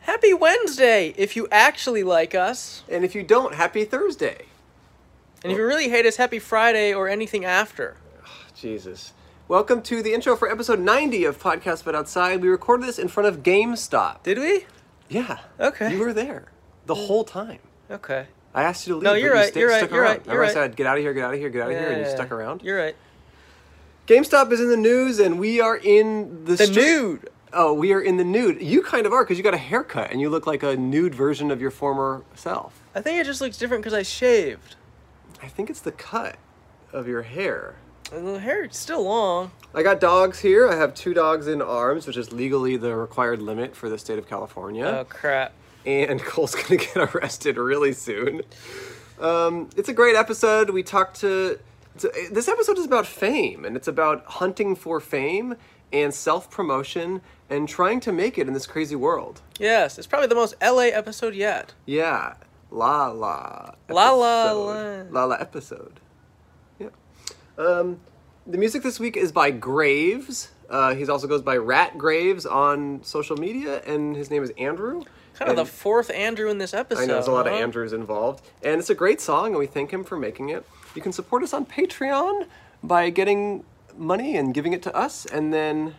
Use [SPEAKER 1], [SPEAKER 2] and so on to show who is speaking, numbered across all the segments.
[SPEAKER 1] Happy Wednesday if you actually like us.
[SPEAKER 2] And if you don't, happy Thursday.
[SPEAKER 1] And if you really hate us, happy Friday or anything after.
[SPEAKER 2] Jesus. Welcome to the intro for episode 90 of Podcast But Outside. We recorded this in front of GameStop.
[SPEAKER 1] Did we?
[SPEAKER 2] Yeah.
[SPEAKER 1] Okay.
[SPEAKER 2] You were there the whole time.
[SPEAKER 1] Okay.
[SPEAKER 2] I asked you to leave.
[SPEAKER 1] No,
[SPEAKER 2] but
[SPEAKER 1] you're
[SPEAKER 2] you
[SPEAKER 1] right,
[SPEAKER 2] sta-
[SPEAKER 1] you're right,
[SPEAKER 2] stuck
[SPEAKER 1] you're
[SPEAKER 2] around.
[SPEAKER 1] right, you're
[SPEAKER 2] Remember I
[SPEAKER 1] right.
[SPEAKER 2] said, get out of here, get out of here, get out of here, and you
[SPEAKER 1] Yeah.
[SPEAKER 2] stuck around?
[SPEAKER 1] You're right.
[SPEAKER 2] GameStop is in the news, and we are in the,
[SPEAKER 1] The
[SPEAKER 2] stri-
[SPEAKER 1] nude.
[SPEAKER 2] Oh, we are in the nude. You kind of are because you got a haircut and you look like a nude version of your former self.
[SPEAKER 1] I think it just looks different because I shaved.
[SPEAKER 2] I think it's the cut of your hair.
[SPEAKER 1] And the hair's still long.
[SPEAKER 2] I got dogs here. I have two dogs in arms, which is legally the required limit for the state of
[SPEAKER 1] Oh
[SPEAKER 2] California.
[SPEAKER 1] crap.
[SPEAKER 2] And Cole's gonna get arrested really soon. Um, it's a great episode. We talked to. it's a- This episode is about fame, and it's about hunting for fame and self promotion and trying to make it in this crazy world.
[SPEAKER 1] Yes, it's probably the most LA episode yet.
[SPEAKER 2] Yeah. La la.
[SPEAKER 1] La la
[SPEAKER 2] episode. La la episode. Yeah. Um, the music this week is by Graves. Uh, he also goes by Rat Graves on social media, and his name is Andrew.
[SPEAKER 1] Kind of
[SPEAKER 2] And
[SPEAKER 1] the fourth Andrew in this episode.
[SPEAKER 2] I know there's a lot of
[SPEAKER 1] huh?
[SPEAKER 2] Andrews involved, and it's a great song, and we thank him for making it. You can support us on Patreon by getting money and giving it to us, and then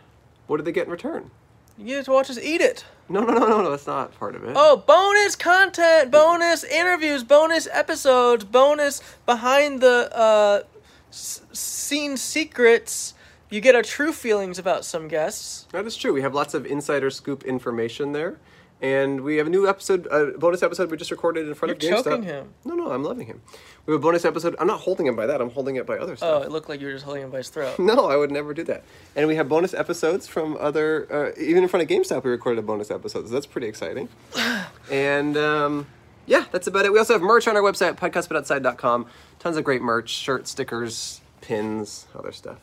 [SPEAKER 2] what do they get in return?
[SPEAKER 1] You get to watch us eat it.
[SPEAKER 2] No, no, no, no, no. That's not part of it.
[SPEAKER 1] Oh, bonus content, bonus interviews, bonus episodes, bonus behind the uh, s- scene secrets. You get our true feelings about some guests.
[SPEAKER 2] That is true. We have lots of insider scoop information there, and we have a new episode, a bonus episode we just recorded in front
[SPEAKER 1] You're
[SPEAKER 2] of GameStop.
[SPEAKER 1] choking him.
[SPEAKER 2] No, no, I'm loving him. We have a bonus episode. I'm not holding him by that. I'm holding it by other
[SPEAKER 1] Oh,
[SPEAKER 2] stuff.
[SPEAKER 1] it looked like you were just holding him by his throat.
[SPEAKER 2] No, I would never do that. And we have bonus episodes from other, uh, even in front of GameStop, we recorded a bonus episode. So that's pretty exciting. and um, yeah, that's about it. We also have merch on our website, podcastbutoutside.com. Tons of great merch, shirts, stickers, pins, other stuff.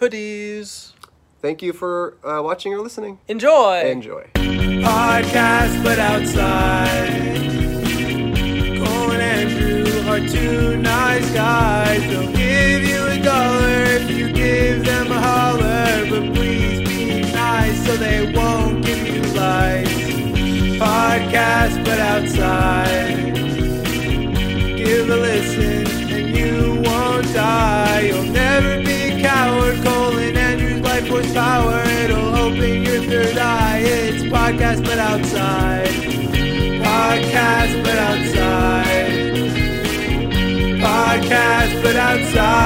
[SPEAKER 1] Hoodies.
[SPEAKER 2] Thank you for uh, watching or listening.
[SPEAKER 1] Enjoy.
[SPEAKER 2] Enjoy.
[SPEAKER 3] podcast, but outside. Cole and Andrew are two nice guys. They'll give you a dollar if you give them a holler, but please be nice so they won't give you lies. Podcast, but outside. Give a listen and you won't die. You'll never be a coward. Colin Andrews, life force power. It'll open your third eye. It's podcast, but outside. Podcast, but outside. Podcast, but outside.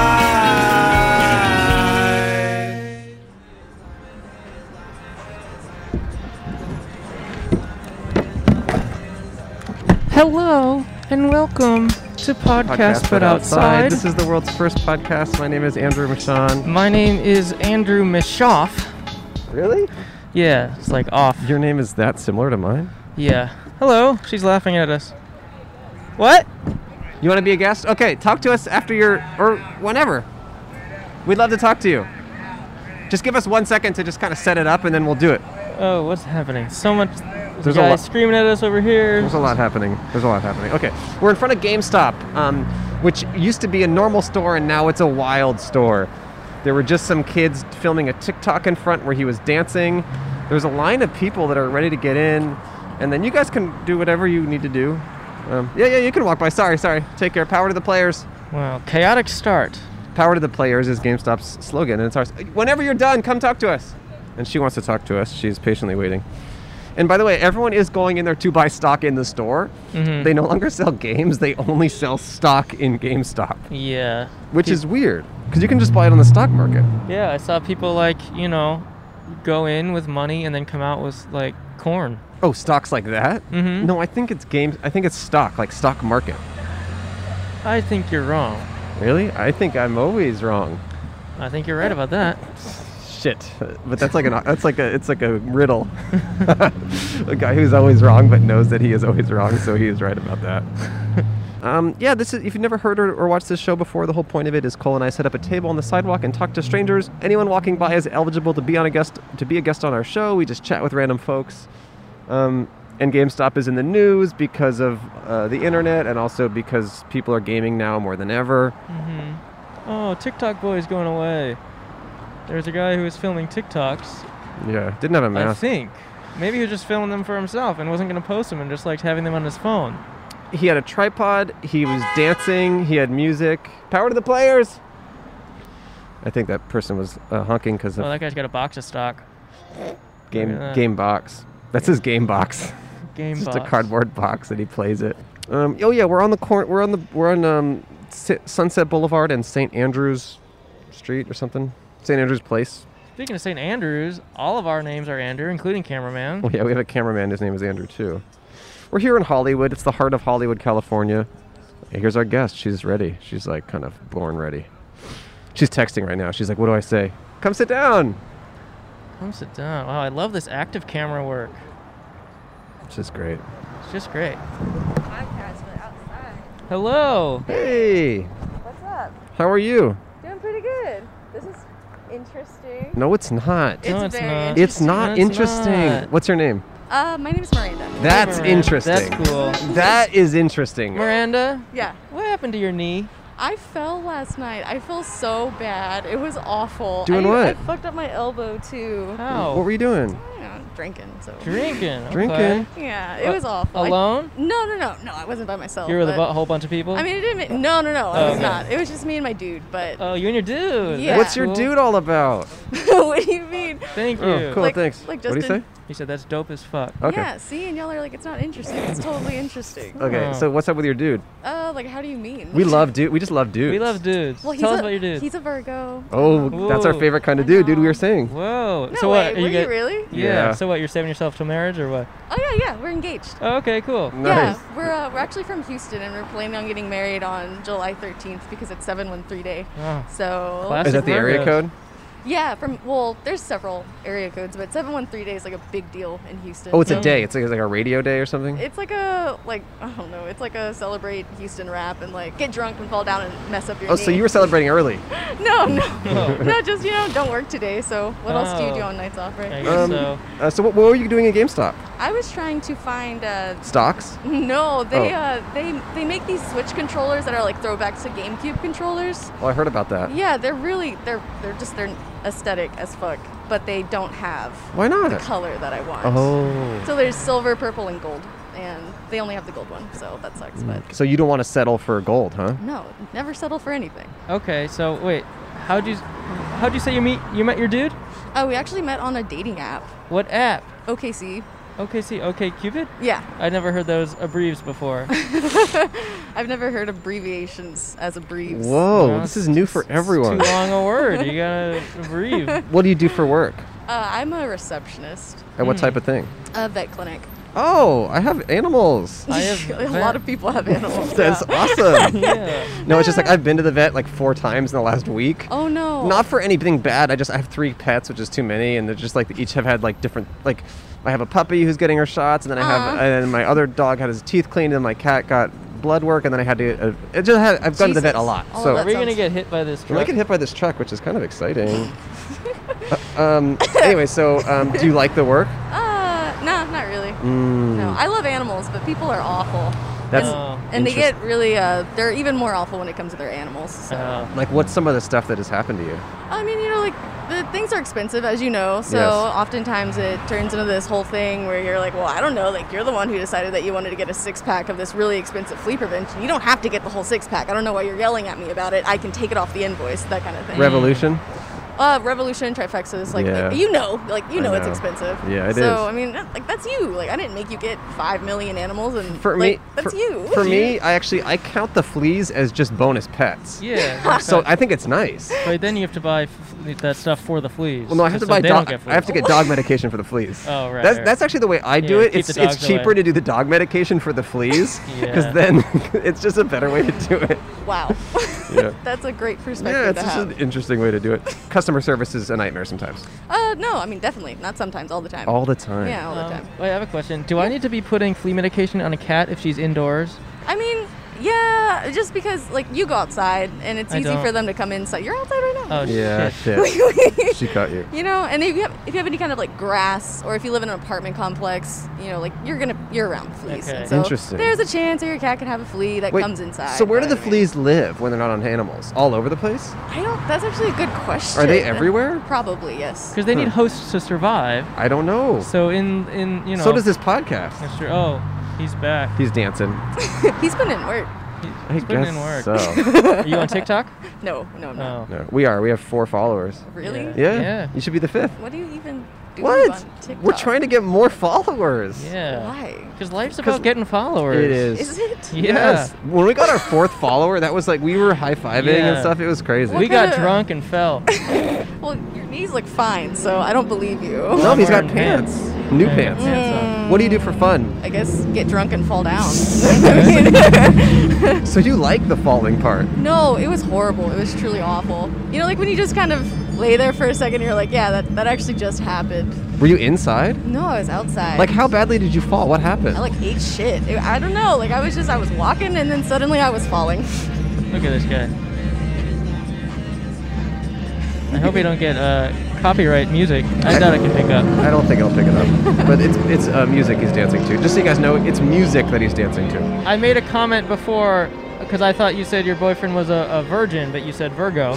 [SPEAKER 4] Hello and welcome to Podcast, But Outside.
[SPEAKER 2] This is the world's first podcast. My name is Andrew Michon.
[SPEAKER 4] My name is Andrew Mishoff.
[SPEAKER 2] Really?
[SPEAKER 4] Yeah, it's like off.
[SPEAKER 2] Your name is that similar to mine?
[SPEAKER 4] Yeah. Hello. She's laughing at us. What?
[SPEAKER 2] You want to be a guest? Okay, talk to us after your or whenever. We'd love to talk to you. Just give us one second to just kind of set it up, and then we'll do it.
[SPEAKER 4] Oh, what's happening? So much.
[SPEAKER 2] There's
[SPEAKER 4] There's guy
[SPEAKER 2] a lot-
[SPEAKER 4] screaming at us over here.
[SPEAKER 2] There's a lot happening. There's a lot happening. Okay, we're in front of GameStop, um, which used to be a normal store and now it's a wild store. There were just some kids filming a TikTok in front where he was dancing. There's a line of people that are ready to get in, and then you guys can do whatever you need to do. Um, yeah, yeah, you can walk by. Sorry, sorry. Take care. Power to the players.
[SPEAKER 4] Wow. Chaotic start.
[SPEAKER 2] Power to the players is GameStop's slogan, and it's ours. Whenever you're done, come talk to us. And she wants to talk to us. She's patiently waiting. And by the way, everyone is going in there to buy stock in the store.
[SPEAKER 4] Mhm.
[SPEAKER 2] They no longer sell games; they only sell stock in GameStop,
[SPEAKER 4] Yeah.
[SPEAKER 2] which is weird because you can just buy it on the stock market.
[SPEAKER 4] Yeah. I saw people like you know, go in with money and then come out with like corn.
[SPEAKER 2] Oh, stocks like that?
[SPEAKER 4] Mhm.
[SPEAKER 2] No, I think it's games. I think it's stock, like stock market.
[SPEAKER 4] I think you're wrong.
[SPEAKER 2] Really? I think I'm always wrong.
[SPEAKER 4] I think you're right about that.
[SPEAKER 2] Shit, but that's like an that's like a it's like a riddle. a guy who's always wrong but knows that he is always wrong, so he is right about that. Um, yeah, this is if you've never heard or, or watched this show before, the whole point of it is Cole and I set up a table on the sidewalk and talk to strangers. Anyone walking by is eligible to be on a guest to be a guest on our show. We just chat with random folks. Um, and GameStop is in the news because of uh, the internet and also because people are gaming now more than ever.
[SPEAKER 4] hmm Oh, TikTok boy is going away. There's a guy who was filming TikToks.
[SPEAKER 2] Yeah, didn't have a
[SPEAKER 4] I
[SPEAKER 2] mask.
[SPEAKER 4] think. Maybe he was just filming them for himself and wasn't gonna post them and just liked having them on his phone.
[SPEAKER 2] He had a tripod. He was dancing. He had music. Power to the players. I think that person was uh, honking because of
[SPEAKER 4] Oh, that guy's got a box of stock.
[SPEAKER 2] game
[SPEAKER 4] at that.
[SPEAKER 2] game box. That's his game box.
[SPEAKER 4] Game
[SPEAKER 2] It's just
[SPEAKER 4] box.
[SPEAKER 2] a cardboard box that he plays it. Um, oh yeah, we're on the corner. We're on the we're on um, Si- Sunset Boulevard and St. Andrews Street or something. St. Andrews Place.
[SPEAKER 4] Speaking of St. Andrews, all of our names are Andrew, including cameraman.
[SPEAKER 2] Oh yeah, we have a cameraman. His name is Andrew too. We're here in Hollywood. It's the heart of Hollywood, California. Here's our guest. She's ready. She's like kind of born ready. She's texting right now. She's like, "What do I say? Come sit down."
[SPEAKER 4] Come sit down. Wow, I love this active camera work.
[SPEAKER 2] Which is great.
[SPEAKER 4] It's just great.
[SPEAKER 5] podcast, but outside.
[SPEAKER 4] Hello.
[SPEAKER 2] Hey,
[SPEAKER 5] What's up?
[SPEAKER 2] how are you?
[SPEAKER 5] Doing pretty good. This is interesting.
[SPEAKER 2] No, it's not.
[SPEAKER 5] It's
[SPEAKER 4] no, it's
[SPEAKER 5] very
[SPEAKER 4] not.
[SPEAKER 2] It's not
[SPEAKER 4] No, it's
[SPEAKER 2] interesting.
[SPEAKER 4] not.
[SPEAKER 2] What's her name?
[SPEAKER 5] Uh, my name is Miranda.
[SPEAKER 2] That's
[SPEAKER 4] Miranda.
[SPEAKER 2] interesting.
[SPEAKER 4] That's cool.
[SPEAKER 2] That is interesting.
[SPEAKER 4] Miranda,
[SPEAKER 5] Yeah.
[SPEAKER 4] what happened to your knee?
[SPEAKER 5] I fell last night. I feel so bad. It was awful.
[SPEAKER 2] Doing
[SPEAKER 5] I, I
[SPEAKER 2] what?
[SPEAKER 5] fucked up my elbow too.
[SPEAKER 4] How?
[SPEAKER 2] What were you doing?
[SPEAKER 5] You know, drinking. So.
[SPEAKER 4] drinking? okay.
[SPEAKER 2] Drinking.
[SPEAKER 5] Yeah, it was awful. I-
[SPEAKER 4] Alone?
[SPEAKER 5] no, no, no, no. I wasn't by myself.
[SPEAKER 4] You were with a
[SPEAKER 5] but-
[SPEAKER 4] bu- whole bunch of people.
[SPEAKER 5] I mean, it didn't. ma- No, no, no. I
[SPEAKER 4] Oh,
[SPEAKER 5] was
[SPEAKER 4] okay.
[SPEAKER 5] not. It was just me and my dude. But
[SPEAKER 4] Oh, you and your dude.
[SPEAKER 5] Yeah.
[SPEAKER 2] What's your dude all about?
[SPEAKER 5] what do you mean?
[SPEAKER 4] Thank you.
[SPEAKER 2] Oh, cool.
[SPEAKER 5] Like-
[SPEAKER 2] thanks.
[SPEAKER 5] like
[SPEAKER 2] what do you say?
[SPEAKER 5] Justin-
[SPEAKER 4] He said that's dope as fuck.
[SPEAKER 2] Okay.
[SPEAKER 5] Yeah. See, and y'all are like, it's not interesting. It's totally interesting.
[SPEAKER 2] Okay.
[SPEAKER 4] Oh.
[SPEAKER 2] So what's up with your dude?
[SPEAKER 5] Uh, like, how do you mean?
[SPEAKER 2] We love dude. We just love dudes.
[SPEAKER 4] We love dudes.
[SPEAKER 5] Well, he's
[SPEAKER 4] Tell
[SPEAKER 5] a,
[SPEAKER 4] us about your dude.
[SPEAKER 5] He's a Virgo.
[SPEAKER 2] Oh, that's our
[SPEAKER 4] Whoa.
[SPEAKER 2] favorite kind of
[SPEAKER 5] I
[SPEAKER 2] dude, dude. We
[SPEAKER 5] know.
[SPEAKER 2] were saying.
[SPEAKER 4] Whoa.
[SPEAKER 5] No
[SPEAKER 4] so
[SPEAKER 5] way.
[SPEAKER 4] what? Are
[SPEAKER 5] were
[SPEAKER 4] you,
[SPEAKER 5] you,
[SPEAKER 4] get-
[SPEAKER 5] really?
[SPEAKER 4] Yeah.
[SPEAKER 2] Yeah.
[SPEAKER 4] So what? You're saving yourself till marriage or what?
[SPEAKER 5] Oh yeah, yeah. We're engaged.
[SPEAKER 4] Oh, okay. Cool.
[SPEAKER 2] Nice.
[SPEAKER 5] Yeah, we're uh, we're actually from Houston, and we're planning on getting married on July 13th because it's 713 day.
[SPEAKER 4] Oh.
[SPEAKER 5] So
[SPEAKER 4] Classic.
[SPEAKER 2] Is that the area
[SPEAKER 4] Virgos.
[SPEAKER 2] code?
[SPEAKER 5] yeah, from well, there's several area codes, but 713 day is like a big deal in Houston.
[SPEAKER 2] Oh, it's a
[SPEAKER 5] So
[SPEAKER 2] day. It's like, it's like a radio day or something.
[SPEAKER 5] It's like a like I don't know. It's like a celebrate Houston rap and like get drunk and fall down and mess up your.
[SPEAKER 2] oh, so
[SPEAKER 5] knee.
[SPEAKER 2] you were celebrating early.
[SPEAKER 5] no no
[SPEAKER 4] Oh.
[SPEAKER 5] no just you know don't work today. So what else do you
[SPEAKER 4] Oh.
[SPEAKER 5] do on nights off,
[SPEAKER 4] I
[SPEAKER 5] right?
[SPEAKER 4] guess so.
[SPEAKER 2] uh, so what, what were you doing at GameStop?
[SPEAKER 5] I was trying to find uh,
[SPEAKER 2] Stocks.
[SPEAKER 5] No, they
[SPEAKER 2] Oh.
[SPEAKER 5] uh, they they make these Switch controllers that are like throwbacks to GameCube controllers.
[SPEAKER 2] Oh, I heard about that.
[SPEAKER 5] Yeah, they're really they're they're just they're aesthetic as fuck, but they don't have
[SPEAKER 2] Why
[SPEAKER 5] the
[SPEAKER 2] not?
[SPEAKER 5] color that I want.
[SPEAKER 2] Oh.
[SPEAKER 5] So there's silver, purple, and gold, and they only have the gold one, so that sucks. But
[SPEAKER 2] So you don't want to settle for gold, huh?
[SPEAKER 5] no, never settle for anything.
[SPEAKER 4] Okay. So wait, how'd you how'd you say you meet you met your dude?
[SPEAKER 5] Oh, we actually met on a dating app,
[SPEAKER 4] What app?
[SPEAKER 5] OKC.
[SPEAKER 4] Okay. See. Okay. Cupid.
[SPEAKER 5] Yeah,
[SPEAKER 4] I never heard those abbreviations before.
[SPEAKER 5] I've never heard abbreviations as abbreviations.
[SPEAKER 2] Whoa,
[SPEAKER 4] Yeah,
[SPEAKER 2] Oh, this is new for everyone.
[SPEAKER 4] Too long a word. You gotta breathe.
[SPEAKER 2] What do you do for work?
[SPEAKER 5] Uh, I'm a receptionist,
[SPEAKER 2] And what type of thing?
[SPEAKER 5] a vet clinic.
[SPEAKER 2] Oh, I have animals.
[SPEAKER 4] I have
[SPEAKER 5] a
[SPEAKER 4] vet-
[SPEAKER 5] lot of people have animals.
[SPEAKER 2] That's
[SPEAKER 5] yeah.
[SPEAKER 2] awesome.
[SPEAKER 4] Yeah.
[SPEAKER 2] No, it's just like I've been to the vet like four times in the last week.
[SPEAKER 5] Oh no.
[SPEAKER 2] Not for anything bad. I just I have three pets, which is too many, and they're just like they each have had like different like. I have a puppy who's getting her shots, and then I have
[SPEAKER 5] Aw.
[SPEAKER 2] and then my other dog had his teeth cleaned, and my cat got blood work, and then I had to. Uh, it just had, I've gone to the vet a
[SPEAKER 5] Jesus. Oh,
[SPEAKER 2] lot,
[SPEAKER 5] All
[SPEAKER 2] so
[SPEAKER 5] of
[SPEAKER 4] Are
[SPEAKER 5] That
[SPEAKER 4] we gonna
[SPEAKER 5] sounds-
[SPEAKER 4] get hit by this
[SPEAKER 2] we
[SPEAKER 4] truck?
[SPEAKER 2] might get hit by this truck, which is kind of exciting. Uh, um, anyway, so um, do you like the work?
[SPEAKER 5] Uh, no, not really.
[SPEAKER 2] Mm.
[SPEAKER 5] No, I love animals, but people are awful.
[SPEAKER 2] That's
[SPEAKER 4] Oh.
[SPEAKER 5] And they get really, uh, they're even more awful when it comes to their animals. So.
[SPEAKER 4] Oh.
[SPEAKER 2] like what's some of the stuff that has happened to you?
[SPEAKER 5] I mean, you know, like, the things are expensive, as you know. So
[SPEAKER 2] Yes.
[SPEAKER 5] oftentimes it turns into this whole thing where you're like, well, I don't know. Like, you're the one who decided that you wanted to get a six pack of this really expensive flea prevention. You don't have to get the whole six pack. I don't know why you're yelling at me about it. I can take it off the invoice, that kind of thing.
[SPEAKER 2] Revolution?
[SPEAKER 5] uh, Revolution Trifexas, like
[SPEAKER 2] Yeah.
[SPEAKER 5] you know, like you
[SPEAKER 2] I
[SPEAKER 5] know, it's
[SPEAKER 2] know.
[SPEAKER 5] expensive.
[SPEAKER 2] Yeah, it
[SPEAKER 5] so,
[SPEAKER 2] is.
[SPEAKER 5] I mean, that- like that's you. Like I didn't make you get five million animals, and
[SPEAKER 2] For
[SPEAKER 5] like,
[SPEAKER 2] me,
[SPEAKER 5] that's
[SPEAKER 2] for,
[SPEAKER 5] you.
[SPEAKER 2] For me, I actually I count the fleas as just bonus pets.
[SPEAKER 4] Yeah.
[SPEAKER 2] So
[SPEAKER 4] okay.
[SPEAKER 2] I think it's nice.
[SPEAKER 4] But then you have to buy f- that stuff for the fleas.
[SPEAKER 2] Well, no, I have
[SPEAKER 4] so
[SPEAKER 2] to buy
[SPEAKER 4] they
[SPEAKER 2] dog.
[SPEAKER 4] don't get
[SPEAKER 2] I have to
[SPEAKER 4] fleas.
[SPEAKER 2] get dog medication for the fleas.
[SPEAKER 4] Oh, right,
[SPEAKER 2] That's
[SPEAKER 4] right.
[SPEAKER 2] that's actually the way I do
[SPEAKER 4] Yeah,
[SPEAKER 2] it.
[SPEAKER 4] keep
[SPEAKER 2] It's
[SPEAKER 4] the
[SPEAKER 2] it's
[SPEAKER 4] dogs
[SPEAKER 2] cheaper
[SPEAKER 4] away.
[SPEAKER 2] to do the dog medication for the fleas because
[SPEAKER 4] Yeah.
[SPEAKER 2] then it's just a better way to do it.
[SPEAKER 5] wow,
[SPEAKER 2] Yeah.
[SPEAKER 5] that's a great perspective
[SPEAKER 2] Yeah, it's
[SPEAKER 5] to
[SPEAKER 2] just
[SPEAKER 5] have.
[SPEAKER 2] an interesting way to do it. Customer service is a nightmare sometimes.
[SPEAKER 5] uh, no, I mean definitely not sometimes, all the time.
[SPEAKER 2] All the time.
[SPEAKER 5] yeah, all
[SPEAKER 4] Um,
[SPEAKER 5] the time.
[SPEAKER 4] wait, I have a question. Do I need to be putting flea medication on a cat if she's indoors?
[SPEAKER 5] I mean, yeah, Yeah, just because like you go outside and it's
[SPEAKER 4] I
[SPEAKER 5] easy
[SPEAKER 4] don't.
[SPEAKER 5] for them to come inside. You're outside right now.
[SPEAKER 4] Oh
[SPEAKER 2] Yeah,
[SPEAKER 4] shit.
[SPEAKER 2] shit. she caught you.
[SPEAKER 5] You know, and if you have if you have any kind of like grass, or if you live in an apartment complex, you know, like you're gonna you're around fleas.
[SPEAKER 4] Okay.
[SPEAKER 5] And so
[SPEAKER 2] Interesting.
[SPEAKER 5] There's a chance that your cat could have a flea that
[SPEAKER 2] Wait,
[SPEAKER 5] comes inside.
[SPEAKER 2] So where do
[SPEAKER 5] but
[SPEAKER 2] the fleas live when they're not on animals? All over the place?
[SPEAKER 5] I don't. That's actually a good question.
[SPEAKER 2] Are they everywhere?
[SPEAKER 5] Probably yes.
[SPEAKER 4] Because they need
[SPEAKER 2] Huh.
[SPEAKER 4] hosts to survive.
[SPEAKER 2] I don't know. So,
[SPEAKER 4] So in in you know.
[SPEAKER 2] does this podcast.
[SPEAKER 4] That's true. Oh, he's back.
[SPEAKER 2] He's dancing.
[SPEAKER 5] He's been in work.
[SPEAKER 4] He-
[SPEAKER 2] I
[SPEAKER 4] he's putting
[SPEAKER 2] guess
[SPEAKER 4] in work.
[SPEAKER 2] so.
[SPEAKER 4] Are you on TikTok? Oh.
[SPEAKER 5] No, no, I'm not.
[SPEAKER 4] No.
[SPEAKER 2] no, we are. We have four followers.
[SPEAKER 5] Really?
[SPEAKER 4] Oh, Yeah.
[SPEAKER 2] Yeah.
[SPEAKER 4] Yeah.
[SPEAKER 2] You should be the fifth.
[SPEAKER 5] What do you even do
[SPEAKER 2] What?
[SPEAKER 5] on TikTok?
[SPEAKER 2] We're trying to get more followers.
[SPEAKER 4] Yeah.
[SPEAKER 5] Why?
[SPEAKER 4] Because life's
[SPEAKER 2] 'Cause
[SPEAKER 4] about getting followers.
[SPEAKER 2] It is.
[SPEAKER 5] Is it?
[SPEAKER 4] Yeah.
[SPEAKER 2] Yes. When we got our fourth follower, that was like we were high fiving and
[SPEAKER 4] Yeah.
[SPEAKER 2] stuff. It was crazy.
[SPEAKER 4] We
[SPEAKER 5] What
[SPEAKER 4] got
[SPEAKER 5] kinda-
[SPEAKER 4] drunk and fell.
[SPEAKER 5] Well, your knees look fine, so I don't believe you.
[SPEAKER 2] no, he's got
[SPEAKER 4] Wearing
[SPEAKER 2] pants.
[SPEAKER 4] pants.
[SPEAKER 2] New
[SPEAKER 4] Yeah,
[SPEAKER 2] pants.
[SPEAKER 4] pants
[SPEAKER 2] What do you do for fun?
[SPEAKER 5] I guess get drunk and fall down. I mean-
[SPEAKER 2] So you like the falling part?
[SPEAKER 5] No, it was horrible. It was truly awful. You know, like when you just kind of lay there for a second, you're like, yeah, that, that actually just happened.
[SPEAKER 2] Were you inside?
[SPEAKER 5] No, I was outside.
[SPEAKER 2] Like how badly did you fall? What happened?
[SPEAKER 5] I like ate shit. It- I don't know. Like I was just I was walking and then suddenly I was falling.
[SPEAKER 4] on.
[SPEAKER 5] Mm.
[SPEAKER 4] Look at this guy. I hope we don't get uh, copyright music. I doubt it can pick up.
[SPEAKER 2] I don't think I'll pick it up. But it's it's uh, music he's dancing to. Just so you guys know, it's music that he's dancing to.
[SPEAKER 4] I made a comment before because I thought you said your boyfriend was a, a virgin, but you said Virgo.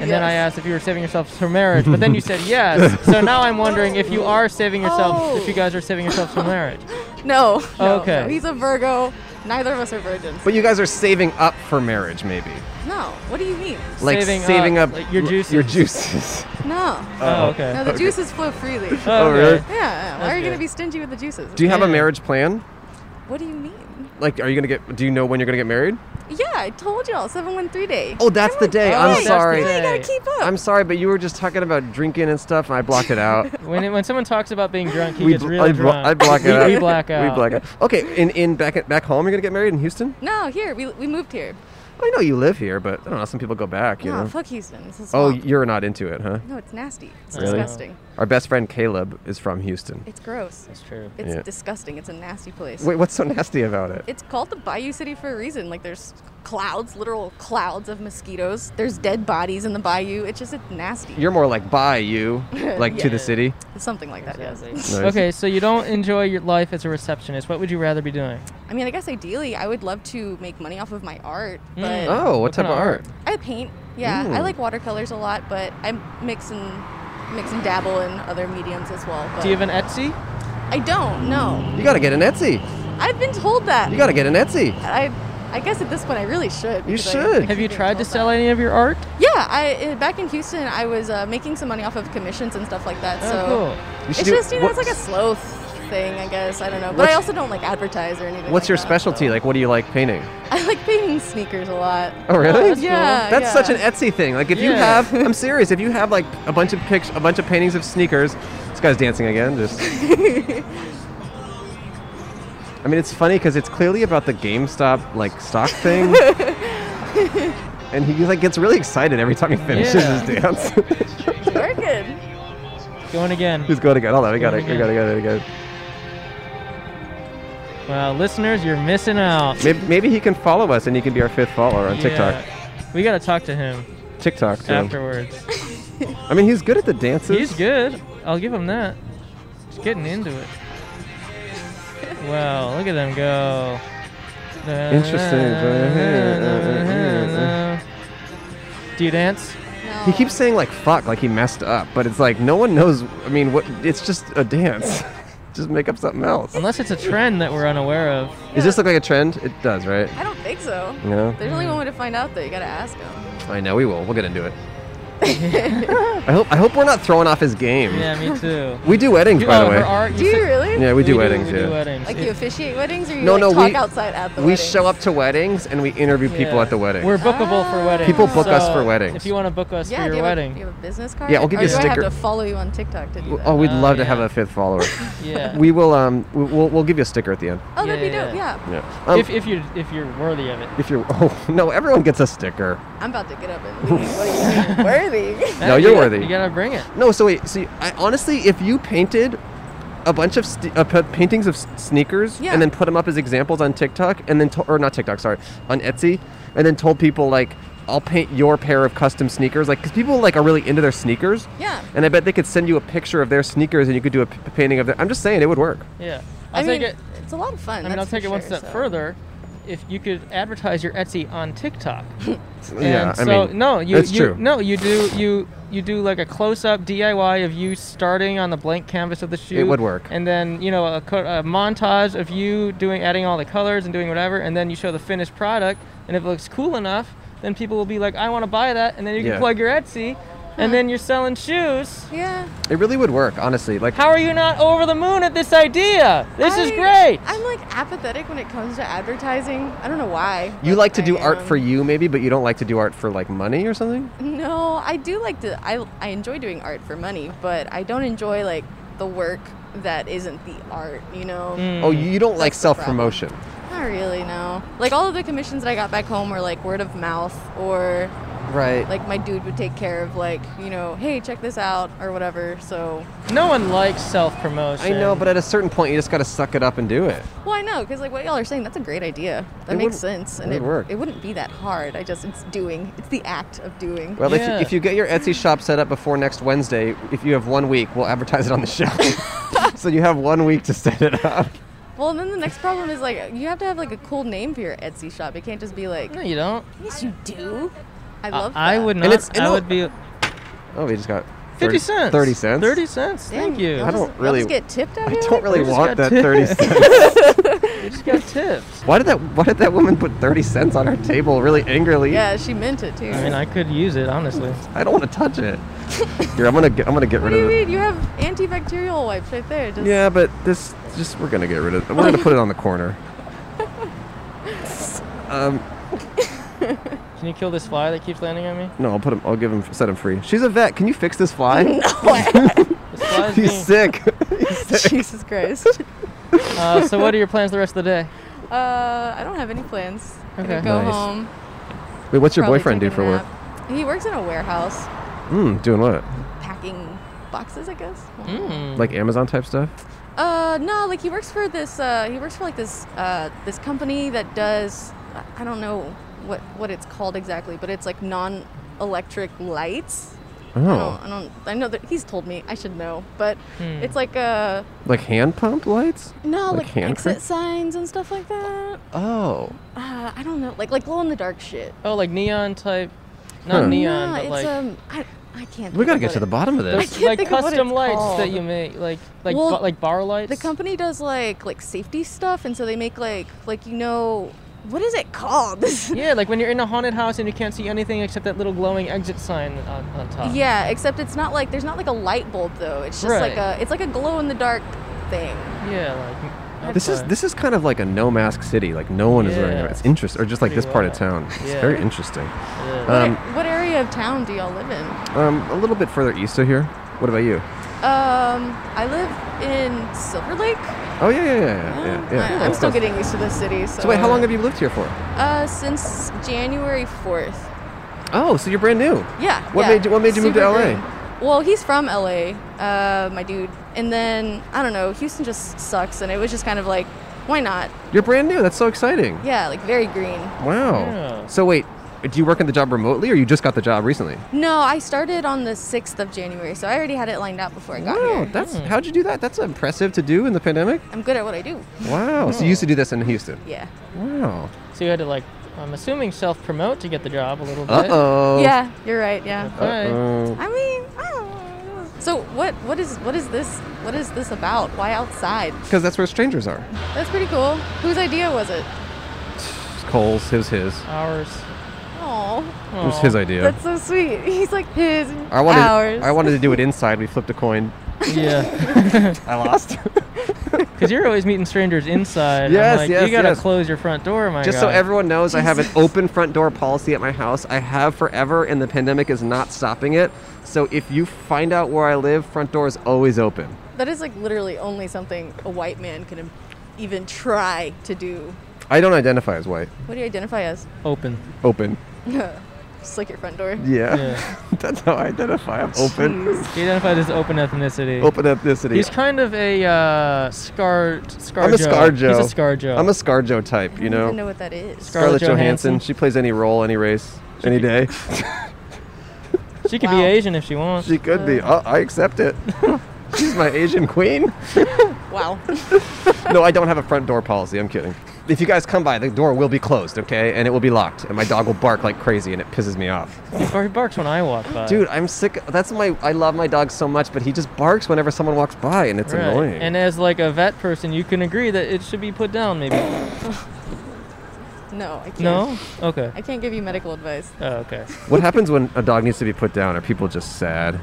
[SPEAKER 4] And then I
[SPEAKER 5] Yes.
[SPEAKER 4] asked if you were saving yourselves for marriage, but then you said yes. so now I'm wondering if you are saving yourself, if you
[SPEAKER 5] Oh.
[SPEAKER 4] guys are saving yourselves for marriage.
[SPEAKER 5] No. no,
[SPEAKER 4] Okay.
[SPEAKER 5] no. He's a Virgo. Neither of us are virgins.
[SPEAKER 2] But you guys are saving up for marriage, maybe.
[SPEAKER 5] No. What do you mean?
[SPEAKER 2] Like saving,
[SPEAKER 4] Saving
[SPEAKER 2] up,
[SPEAKER 4] up, like, your
[SPEAKER 2] l-
[SPEAKER 4] juices.
[SPEAKER 2] Your juices.
[SPEAKER 5] No.
[SPEAKER 4] Oh,
[SPEAKER 5] No,
[SPEAKER 4] okay.
[SPEAKER 5] the juices flow freely. Yeah.
[SPEAKER 4] Oh,
[SPEAKER 2] really?
[SPEAKER 4] okay.
[SPEAKER 5] yeah. Why are you
[SPEAKER 4] Okay.
[SPEAKER 5] gonna be stingy with the juices?
[SPEAKER 2] Do you have a
[SPEAKER 4] Yeah.
[SPEAKER 2] marriage plan?
[SPEAKER 5] what do you mean?
[SPEAKER 2] Like, are you gonna get? Do you know when you're gonna get married?
[SPEAKER 5] Yeah, I told y'all, 713 day.
[SPEAKER 2] Oh, that's the day.
[SPEAKER 5] Oh,
[SPEAKER 2] I'm
[SPEAKER 5] that's the
[SPEAKER 2] sorry.
[SPEAKER 5] You
[SPEAKER 4] day.
[SPEAKER 5] gotta keep up.
[SPEAKER 2] I'm sorry, but you were just talking about drinking and stuff, and I blocked it out.
[SPEAKER 4] When, it, when someone talks about being drunk, he
[SPEAKER 2] we
[SPEAKER 4] gets
[SPEAKER 2] bl-
[SPEAKER 4] really
[SPEAKER 2] I, blo-
[SPEAKER 4] drunk.
[SPEAKER 2] I block it
[SPEAKER 4] we,
[SPEAKER 2] out.
[SPEAKER 4] We black out.
[SPEAKER 2] We black out. Okay, in, in back at, back home, you're gonna get married in Houston.
[SPEAKER 5] no, here we, we moved here.
[SPEAKER 2] I know you live here, but I don't know. Some people go back. You
[SPEAKER 5] No,
[SPEAKER 2] know.
[SPEAKER 5] Ah, fuck Houston. It's a
[SPEAKER 2] oh,
[SPEAKER 5] swamp.
[SPEAKER 2] you're not into it, huh?
[SPEAKER 5] No, it's nasty. It's
[SPEAKER 4] Really?
[SPEAKER 5] disgusting.
[SPEAKER 2] Our best friend Caleb is from Houston.
[SPEAKER 5] It's gross.
[SPEAKER 4] That's true.
[SPEAKER 5] It's
[SPEAKER 2] Yeah.
[SPEAKER 5] disgusting. It's a nasty place.
[SPEAKER 2] Wait, what's so nasty about it?
[SPEAKER 5] It's called the Bayou City for a reason. Like there's clouds, literal clouds of mosquitoes. There's dead bodies in the bayou. It's just it's nasty.
[SPEAKER 2] You're more like by you, like to the
[SPEAKER 4] Yeah.
[SPEAKER 2] city.
[SPEAKER 5] Something like that, yes.
[SPEAKER 4] Exactly. Okay, so you don't enjoy your life as a receptionist. What would you rather be doing?
[SPEAKER 5] I mean, I guess ideally I would love to make money off of my art, but
[SPEAKER 4] Mm.
[SPEAKER 2] Oh, Mm. what,
[SPEAKER 4] What
[SPEAKER 2] type of
[SPEAKER 4] kinda
[SPEAKER 2] art?
[SPEAKER 5] I paint. Yeah, I
[SPEAKER 2] Ooh.
[SPEAKER 5] like watercolors a lot, but I mix and mix and dabble in other mediums as well. But
[SPEAKER 4] Do you have an Etsy?
[SPEAKER 5] I don't know.
[SPEAKER 2] You gotta get an Etsy.
[SPEAKER 5] I've been told that.
[SPEAKER 2] You gotta get an Etsy.
[SPEAKER 5] I I guess at this point I really should.
[SPEAKER 2] You
[SPEAKER 5] because I-
[SPEAKER 2] should.
[SPEAKER 5] I
[SPEAKER 2] Have
[SPEAKER 5] keep
[SPEAKER 4] Have you
[SPEAKER 5] getting
[SPEAKER 4] tried to
[SPEAKER 5] told
[SPEAKER 4] sell
[SPEAKER 5] that.
[SPEAKER 4] any of your art?
[SPEAKER 5] Yeah, I uh, back in Houston I was uh, making some money off of commissions and stuff like that.
[SPEAKER 4] Oh,
[SPEAKER 5] so
[SPEAKER 4] cool.
[SPEAKER 2] You should
[SPEAKER 5] it's
[SPEAKER 2] do-
[SPEAKER 5] just you know it's like a
[SPEAKER 2] what's-
[SPEAKER 5] slow th- thing I guess I don't know. But
[SPEAKER 2] What's-
[SPEAKER 5] I also don't like advertise or anything.
[SPEAKER 2] What's
[SPEAKER 5] like
[SPEAKER 2] your
[SPEAKER 5] that,
[SPEAKER 2] specialty?
[SPEAKER 5] so.
[SPEAKER 2] Like, what do you like painting?
[SPEAKER 5] I like painting sneakers a lot.
[SPEAKER 2] Oh, really?
[SPEAKER 4] that's
[SPEAKER 5] yeah,
[SPEAKER 2] That's
[SPEAKER 5] yeah.
[SPEAKER 2] such an Etsy thing. Like if you
[SPEAKER 4] Yeah.
[SPEAKER 2] have, I'm serious. If you have like a bunch of pics, a bunch of paintings of sneakers. This guy's dancing again. Just. I mean, it's funny because it's clearly about the GameStop like stock thing. And he like gets really excited every time he finishes
[SPEAKER 4] Yeah.
[SPEAKER 2] his dance.
[SPEAKER 5] Very good.
[SPEAKER 4] Going again.
[SPEAKER 2] He's going again. Hold on, we got it. We
[SPEAKER 4] Going
[SPEAKER 2] got to go again.
[SPEAKER 4] Well, listeners, you're missing out.
[SPEAKER 2] Maybe, maybe he can follow us and he can be our fifth follower on TikTok.
[SPEAKER 4] Yeah. We gotta talk to him
[SPEAKER 2] TikTok too.
[SPEAKER 4] afterwards.
[SPEAKER 2] I mean, he's good at the dances.
[SPEAKER 4] He's good. I'll give him that. He's getting into it. Wow, look at them go.
[SPEAKER 2] Interesting.
[SPEAKER 4] Do you dance?
[SPEAKER 5] No.
[SPEAKER 2] He keeps saying like fuck, like he messed up, but it's like no one knows. I mean, what? It's just a dance. just make up something else.
[SPEAKER 4] Unless it's a trend that we're unaware of.
[SPEAKER 2] Does this look like a trend? It does, right?
[SPEAKER 5] I don't think so.
[SPEAKER 2] No.
[SPEAKER 5] There's only one way to find out though. You gotta ask him.
[SPEAKER 2] I know we will. We'll get into it. I hope. I hope we're not throwing off his game.
[SPEAKER 4] Yeah, me too.
[SPEAKER 2] We do weddings,
[SPEAKER 4] You-
[SPEAKER 2] by
[SPEAKER 4] oh,
[SPEAKER 2] the
[SPEAKER 4] for
[SPEAKER 2] way.
[SPEAKER 4] art,
[SPEAKER 5] Do you
[SPEAKER 4] said-
[SPEAKER 5] really?
[SPEAKER 2] yeah, we do
[SPEAKER 4] we
[SPEAKER 2] weddings.
[SPEAKER 4] Do, we
[SPEAKER 2] yeah.
[SPEAKER 4] do weddings.
[SPEAKER 5] Like
[SPEAKER 4] It-
[SPEAKER 5] you officiate weddings or you
[SPEAKER 2] No,
[SPEAKER 5] like
[SPEAKER 2] no,
[SPEAKER 5] talk
[SPEAKER 2] we-
[SPEAKER 5] outside at the
[SPEAKER 2] we
[SPEAKER 5] weddings?
[SPEAKER 2] show up to weddings and we interview people
[SPEAKER 4] yeah.
[SPEAKER 2] at the weddings.
[SPEAKER 4] We're bookable for
[SPEAKER 5] Ah.
[SPEAKER 4] weddings.
[SPEAKER 2] People book us
[SPEAKER 4] so
[SPEAKER 2] for weddings.
[SPEAKER 4] If you want to book us
[SPEAKER 5] Yeah,
[SPEAKER 4] for
[SPEAKER 5] do
[SPEAKER 4] your
[SPEAKER 5] you, have a,
[SPEAKER 4] wedding,
[SPEAKER 5] do you have a business card?
[SPEAKER 2] Yeah, I'll give
[SPEAKER 5] Or
[SPEAKER 2] you a
[SPEAKER 5] do I
[SPEAKER 2] sticker.
[SPEAKER 5] have to follow you on TikTok to do that?
[SPEAKER 2] oh, we'd
[SPEAKER 4] Oh,
[SPEAKER 2] love to
[SPEAKER 4] yeah.
[SPEAKER 2] have a fifth follower.
[SPEAKER 4] yeah.
[SPEAKER 2] we will. Um, we- we'll, we'll give you a sticker at the end.
[SPEAKER 5] oh, that'd be
[SPEAKER 4] yeah,
[SPEAKER 5] dope.
[SPEAKER 4] yeah.
[SPEAKER 5] Yeah.
[SPEAKER 2] Yeah. Um,
[SPEAKER 4] if, if you if you're worthy of it.
[SPEAKER 2] if you're. Oh no, everyone gets a sticker.
[SPEAKER 5] I'm about to get up and leave. what do you mean? Worthy.
[SPEAKER 2] No, you're
[SPEAKER 4] you-
[SPEAKER 2] worthy.
[SPEAKER 4] You gotta bring it.
[SPEAKER 2] No, so wait. See, I, honestly, if you painted a bunch of st- uh, p- paintings of s- sneakers
[SPEAKER 5] Yeah.
[SPEAKER 2] and then put them up as examples on TikTok and then to- or not TikTok, sorry, on Etsy and then told people like I'll paint your pair of custom sneakers like cuz people like are really into their sneakers.
[SPEAKER 5] Yeah.
[SPEAKER 2] And I bet they could send you a picture of their sneakers and you could do a p- painting of their I'm just saying it would work.
[SPEAKER 4] Yeah.
[SPEAKER 5] I,
[SPEAKER 4] I'll
[SPEAKER 5] mean,
[SPEAKER 4] take it.
[SPEAKER 5] it's a lot of fun.
[SPEAKER 4] I mean, I'll
[SPEAKER 5] that's
[SPEAKER 4] take it
[SPEAKER 5] for
[SPEAKER 4] one
[SPEAKER 5] sure,
[SPEAKER 4] step
[SPEAKER 5] so.
[SPEAKER 4] further. If you could advertise your Etsy on TikTok,
[SPEAKER 2] yeah,
[SPEAKER 4] and
[SPEAKER 2] I
[SPEAKER 4] so
[SPEAKER 2] mean
[SPEAKER 4] no, you,
[SPEAKER 2] that's
[SPEAKER 4] you
[SPEAKER 2] true.
[SPEAKER 4] no, you do you you do like a close up DIY of you starting on the blank canvas of the shoe.
[SPEAKER 2] would work.
[SPEAKER 4] And then you know a, co- a montage of you doing adding all the colors and doing whatever, and then you show the finished product, and if it looks cool enough, then people will be like, I want to buy that, and then you can
[SPEAKER 2] Yeah.
[SPEAKER 4] plug your Etsy, and then you're selling shoes.
[SPEAKER 5] Yeah.
[SPEAKER 2] It really would work, honestly. Like
[SPEAKER 4] How are you not over the moon at this idea? This is
[SPEAKER 5] I-
[SPEAKER 4] great.
[SPEAKER 5] I'm like apathetic when it comes to advertising. I don't know why.
[SPEAKER 2] you
[SPEAKER 5] but
[SPEAKER 2] like to
[SPEAKER 5] I
[SPEAKER 2] do art
[SPEAKER 5] am.
[SPEAKER 2] for you maybe, but you don't like to do art for like money or something?
[SPEAKER 5] No, I do like to. I I enjoy doing art for money, but I don't enjoy like the work that isn't the art. You know.
[SPEAKER 4] Mm.
[SPEAKER 2] Oh, you you don't like
[SPEAKER 5] Mm. That's the problem.
[SPEAKER 2] self-promotion.
[SPEAKER 5] Not really. No. Like all of the commissions that I got back home were like word of mouth or
[SPEAKER 2] Right.
[SPEAKER 5] like my dude would take care of like you know hey check this out or whatever. So
[SPEAKER 4] No one likes self
[SPEAKER 2] I
[SPEAKER 4] promotion.
[SPEAKER 2] know, but at a certain point you just got to suck it up and do it.
[SPEAKER 5] well I know because like what y'all are saying that's a great idea. That
[SPEAKER 2] It
[SPEAKER 5] makes
[SPEAKER 2] would-
[SPEAKER 5] sense and
[SPEAKER 2] it would work.
[SPEAKER 5] it wouldn't be that hard. I just it's doing. It's the act of doing.
[SPEAKER 2] Well,
[SPEAKER 4] Yeah.
[SPEAKER 2] if, if you get your Etsy shop set up before next Wednesday, if you have one week, we'll advertise it on the show. so you have one week to set it up.
[SPEAKER 5] Well, and then the next problem is like you have to have like a cool name for your Etsy shop. It can't just be like
[SPEAKER 4] no, you don't.
[SPEAKER 5] yes you do. I love.
[SPEAKER 4] I, I
[SPEAKER 5] that.
[SPEAKER 4] would
[SPEAKER 2] And
[SPEAKER 4] not.
[SPEAKER 2] it's- and
[SPEAKER 4] I
[SPEAKER 2] no-
[SPEAKER 4] would be
[SPEAKER 2] Oh, we just got
[SPEAKER 4] 50 cents.
[SPEAKER 2] 30 cents.
[SPEAKER 4] 30 cents.
[SPEAKER 5] Dang,
[SPEAKER 4] Thank you.
[SPEAKER 5] y'all
[SPEAKER 2] I don't
[SPEAKER 5] just- y'all
[SPEAKER 2] really-
[SPEAKER 5] just get tipped out
[SPEAKER 2] I
[SPEAKER 5] here
[SPEAKER 2] don't
[SPEAKER 5] like
[SPEAKER 2] really
[SPEAKER 4] We just
[SPEAKER 2] want
[SPEAKER 4] got
[SPEAKER 2] that 30
[SPEAKER 4] tips.
[SPEAKER 2] cents.
[SPEAKER 4] You just got tips.
[SPEAKER 2] Why did that why did that woman put 30 cents on her table really angrily?
[SPEAKER 5] that? Yeah, she meant it too.
[SPEAKER 4] I mean, I could use it, honestly.
[SPEAKER 2] I don't want to touch it. Here, I'm going to get I'm going to get rid
[SPEAKER 5] what do you
[SPEAKER 2] of it.
[SPEAKER 5] mean? You have antibacterial wipes right there. Just,
[SPEAKER 2] Yeah, but this just we're gonna get rid of. We're gonna put it on the corner. Um,
[SPEAKER 4] Can you kill this fly that keeps landing on me?
[SPEAKER 2] no, I'll put him. I'll give him. Set him free. She's a vet. Can you fix this fly?
[SPEAKER 4] This fly is
[SPEAKER 2] He's
[SPEAKER 4] being-
[SPEAKER 2] sick. He's sick.
[SPEAKER 5] Jesus Christ.
[SPEAKER 4] Uh, so, what are your plans the rest of the day?
[SPEAKER 5] uh, I don't have any plans. I'm gonna
[SPEAKER 4] Okay.
[SPEAKER 5] Go
[SPEAKER 2] Nice.
[SPEAKER 5] home.
[SPEAKER 2] Wait, what's your
[SPEAKER 5] probably
[SPEAKER 2] boyfriend do
[SPEAKER 5] take a
[SPEAKER 2] for work?
[SPEAKER 5] nap. He works in a warehouse,
[SPEAKER 2] Hmm, doing what?
[SPEAKER 5] packing boxes, I guess.
[SPEAKER 4] Mm.
[SPEAKER 2] Like Amazon type stuff?
[SPEAKER 5] Uh, no, like he works for this. Uh, he works for like this. Uh, this company that does. I don't know what what it's called exactly, but it's like non-electric lights. I
[SPEAKER 2] Oh,
[SPEAKER 5] don't. I don't. I know that he's told me. I should know, but
[SPEAKER 4] Hmm.
[SPEAKER 5] it's like uh
[SPEAKER 2] like hand pump lights?
[SPEAKER 5] no
[SPEAKER 2] Like
[SPEAKER 5] like,
[SPEAKER 2] hand
[SPEAKER 5] exit
[SPEAKER 2] crank?
[SPEAKER 5] signs and stuff like that.
[SPEAKER 2] Oh,
[SPEAKER 5] Uh, I don't know. Like like glow in the dark shit.
[SPEAKER 4] Oh, like neon type. Not
[SPEAKER 2] Huh.
[SPEAKER 4] neon,
[SPEAKER 5] no,
[SPEAKER 4] but
[SPEAKER 5] it's
[SPEAKER 4] like.
[SPEAKER 5] um. I, I can't.
[SPEAKER 2] we
[SPEAKER 5] think
[SPEAKER 2] gotta
[SPEAKER 5] of
[SPEAKER 2] get
[SPEAKER 5] what
[SPEAKER 2] to the
[SPEAKER 5] it-
[SPEAKER 2] bottom of this.
[SPEAKER 4] there's
[SPEAKER 5] can't
[SPEAKER 4] like
[SPEAKER 5] think of what
[SPEAKER 4] custom
[SPEAKER 5] it's
[SPEAKER 4] lights that
[SPEAKER 5] called.
[SPEAKER 4] you make, like like
[SPEAKER 5] Well,
[SPEAKER 4] ba- like bar lights.
[SPEAKER 5] The company does like like safety stuff, and so they make like like you know what is it called?
[SPEAKER 4] Yeah, like when you're in a haunted house and you can't see anything except that little glowing exit sign on, on top.
[SPEAKER 5] Yeah, except it's not like there's not like a light bulb though. It's just like
[SPEAKER 4] Right.
[SPEAKER 5] a it's like a glow in the dark thing.
[SPEAKER 4] Yeah, like.
[SPEAKER 2] This is
[SPEAKER 4] okay.
[SPEAKER 2] this is kind of like a no mask city. Like no one is wearing
[SPEAKER 4] Yeah.
[SPEAKER 2] it. It's interesting, or just like this
[SPEAKER 4] Pretty
[SPEAKER 2] part of
[SPEAKER 4] wild.
[SPEAKER 2] town. It's
[SPEAKER 4] Yeah.
[SPEAKER 2] very interesting.
[SPEAKER 4] Yeah.
[SPEAKER 5] What,
[SPEAKER 2] Um,
[SPEAKER 5] what area of town do y'all live in?
[SPEAKER 2] Um, a little bit further east of here. What about you?
[SPEAKER 5] Um, I live in Silver Lake.
[SPEAKER 2] Oh yeah, yeah, yeah, yeah. yeah,
[SPEAKER 4] Oh,
[SPEAKER 5] Um,
[SPEAKER 2] yeah.
[SPEAKER 5] I, am
[SPEAKER 2] That's
[SPEAKER 5] still
[SPEAKER 2] close.
[SPEAKER 5] getting used to this city. So,
[SPEAKER 2] So wait, how long have you lived here for?
[SPEAKER 5] Uh, since January fourth.
[SPEAKER 2] Oh, so you're brand new.
[SPEAKER 5] Yeah.
[SPEAKER 2] What
[SPEAKER 5] yeah.
[SPEAKER 2] made you- what made you move to LA?
[SPEAKER 5] green. Well, he's from LA, uh, my dude, and then I don't know. Houston just sucks, and it was just kind of like, why not?
[SPEAKER 2] You're brand new. That's so exciting.
[SPEAKER 5] Yeah, like very green.
[SPEAKER 2] Wow.
[SPEAKER 4] Yeah.
[SPEAKER 2] So wait, do you work in the job remotely, or you just got the job recently?
[SPEAKER 5] No, I started on the sixth of January, so I already had it lined out before I got
[SPEAKER 2] Wow,
[SPEAKER 5] here.
[SPEAKER 2] that's
[SPEAKER 4] Mm.
[SPEAKER 2] how'd you do that? That's impressive to do in the pandemic.
[SPEAKER 5] I'm good at what I do.
[SPEAKER 2] Wow. So you used to do this in Houston.
[SPEAKER 5] Yeah.
[SPEAKER 2] Wow.
[SPEAKER 4] So you had to like, I'm assuming self promote to get the job a little bit.
[SPEAKER 2] Uh oh.
[SPEAKER 5] Yeah, you're right. Yeah.
[SPEAKER 4] Okay.
[SPEAKER 5] I mean, I don't know. So what? What is what is this? What is this about? Why outside?
[SPEAKER 2] Because that's where strangers are.
[SPEAKER 5] That's pretty cool. Whose idea was it?
[SPEAKER 2] Cole's, his, his.
[SPEAKER 4] Hours.
[SPEAKER 5] Oh,
[SPEAKER 2] It was his
[SPEAKER 4] Aw.
[SPEAKER 2] idea.
[SPEAKER 5] that's so sweet. He's like his
[SPEAKER 2] I wanted.
[SPEAKER 5] ours.
[SPEAKER 2] I wanted to do it inside. We flipped a coin.
[SPEAKER 4] Yeah.
[SPEAKER 2] I lost.
[SPEAKER 4] Because you're always meeting strangers inside. I'm
[SPEAKER 2] Yes,
[SPEAKER 4] like,
[SPEAKER 2] yes,
[SPEAKER 4] You gotta
[SPEAKER 2] yes.
[SPEAKER 4] close your front door, my
[SPEAKER 2] Just
[SPEAKER 4] God.
[SPEAKER 2] so everyone knows, I have an open front door policy at my house. I have forever, and the pandemic is not stopping it. So if you find out where I live, front door is always open.
[SPEAKER 5] That is like literally only something a white man can im- even try to do.
[SPEAKER 2] I don't identify as white.
[SPEAKER 5] What do you identify as?
[SPEAKER 4] Open.
[SPEAKER 2] Open.
[SPEAKER 5] Just like your front door.
[SPEAKER 2] Yeah.
[SPEAKER 4] Yeah.
[SPEAKER 2] That's how I identify. I'm open.
[SPEAKER 4] He identified as open ethnicity.
[SPEAKER 2] open ethnicity.
[SPEAKER 4] He's kind of a uh, scarred scar.
[SPEAKER 2] I'm a Scarjo.
[SPEAKER 4] He's a Scarjo.
[SPEAKER 2] I'm a Scarjo type, you
[SPEAKER 5] I don't even
[SPEAKER 2] know.
[SPEAKER 5] know what that is.
[SPEAKER 4] Scar-
[SPEAKER 2] Scarlett
[SPEAKER 4] Scarlett
[SPEAKER 2] Johansson.
[SPEAKER 4] Johansson.
[SPEAKER 2] She plays any role, any race, any day.
[SPEAKER 4] she could be
[SPEAKER 5] Wow.
[SPEAKER 4] Asian if she wants.
[SPEAKER 2] she could be. Oh, I accept it. She's my Asian queen.
[SPEAKER 5] Wow.
[SPEAKER 2] no, I don't have a front door policy. I'm kidding. If you guys come by, the door will be closed, okay? And it will be locked. And my dog will bark like crazy, and it pisses me off.
[SPEAKER 4] or he barks when I walk by.
[SPEAKER 2] Dude, I'm sick. That's my. I love my dog so much, but he just barks whenever someone walks by, and it's
[SPEAKER 4] Right.
[SPEAKER 2] annoying.
[SPEAKER 4] And as like a vet person, you can agree that it should be put down, maybe.
[SPEAKER 5] No, I can't.
[SPEAKER 4] No? Okay.
[SPEAKER 5] I can't give you medical advice.
[SPEAKER 4] Oh, okay.
[SPEAKER 2] what happens when a dog needs to be put down? Are people just sad?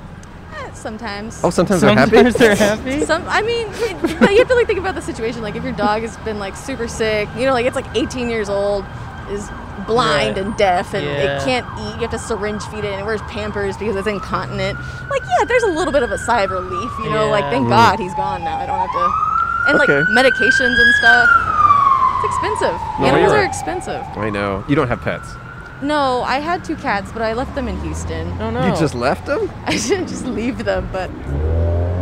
[SPEAKER 5] Eh, Sometimes.
[SPEAKER 2] Oh, sometimes, they're
[SPEAKER 4] Sometimes
[SPEAKER 2] happy.
[SPEAKER 4] they're happy.
[SPEAKER 5] Some, I mean, but you have to like think about the situation. Like if your dog has been like super sick, you know, like it's like 18 years old, is blind
[SPEAKER 4] Right.
[SPEAKER 5] and deaf, and
[SPEAKER 4] Yeah.
[SPEAKER 5] it can't eat. You have to syringe feed it, and it wears Pampers because it's incontinent. Like yeah, there's a little bit of a sigh of relief, you know. Like
[SPEAKER 4] Yeah.
[SPEAKER 5] thank God he's gone now. I don't have to. And like
[SPEAKER 2] Okay.
[SPEAKER 5] medications and stuff. It's expensive.
[SPEAKER 2] No,
[SPEAKER 5] Animals
[SPEAKER 2] you're
[SPEAKER 5] are
[SPEAKER 2] right.
[SPEAKER 5] expensive.
[SPEAKER 2] I know. You don't have pets.
[SPEAKER 5] No, I had two cats, but I left them in Houston.
[SPEAKER 4] Oh no.
[SPEAKER 2] You just left them?
[SPEAKER 5] I shouldn't just leave them, but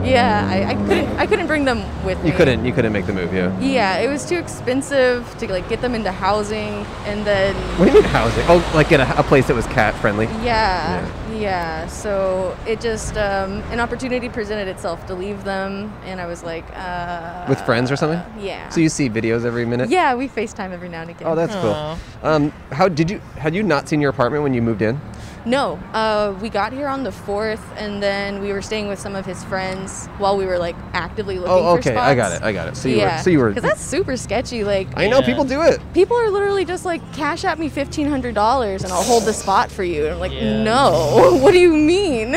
[SPEAKER 5] yeah, I, I couldn't. I couldn't bring them with me.
[SPEAKER 2] You couldn't. You couldn't make the move, yeah.
[SPEAKER 5] Yeah, it was too expensive to like get them into housing, and then
[SPEAKER 2] What do you mean housing? Oh, like in a, a place that was cat friendly.
[SPEAKER 5] yeah, yeah, So it just um, an opportunity presented itself to leave them, and I was like, uh,
[SPEAKER 2] With friends or something?
[SPEAKER 5] Yeah.
[SPEAKER 2] So you see videos every minute?
[SPEAKER 5] yeah, we FaceTime every now and again.
[SPEAKER 2] Oh, that's
[SPEAKER 4] Aw.
[SPEAKER 2] cool. Um, how did you? Had you not seen your apartment when you moved in?
[SPEAKER 5] No, uh, we got here on the fourth, and then we were staying with some of his friends while we were like actively looking.
[SPEAKER 2] Oh,
[SPEAKER 5] for
[SPEAKER 2] okay.
[SPEAKER 5] Spots.
[SPEAKER 2] I got it. I got it. So you
[SPEAKER 5] yeah,
[SPEAKER 2] were. So you were.
[SPEAKER 5] Because that's super sketchy. Like,
[SPEAKER 2] I know
[SPEAKER 4] Yeah.
[SPEAKER 2] people do it.
[SPEAKER 5] people are literally just like cash at me $1500 and i'll hold the spot for you and i'm like
[SPEAKER 4] Yeah.
[SPEAKER 5] no what do you mean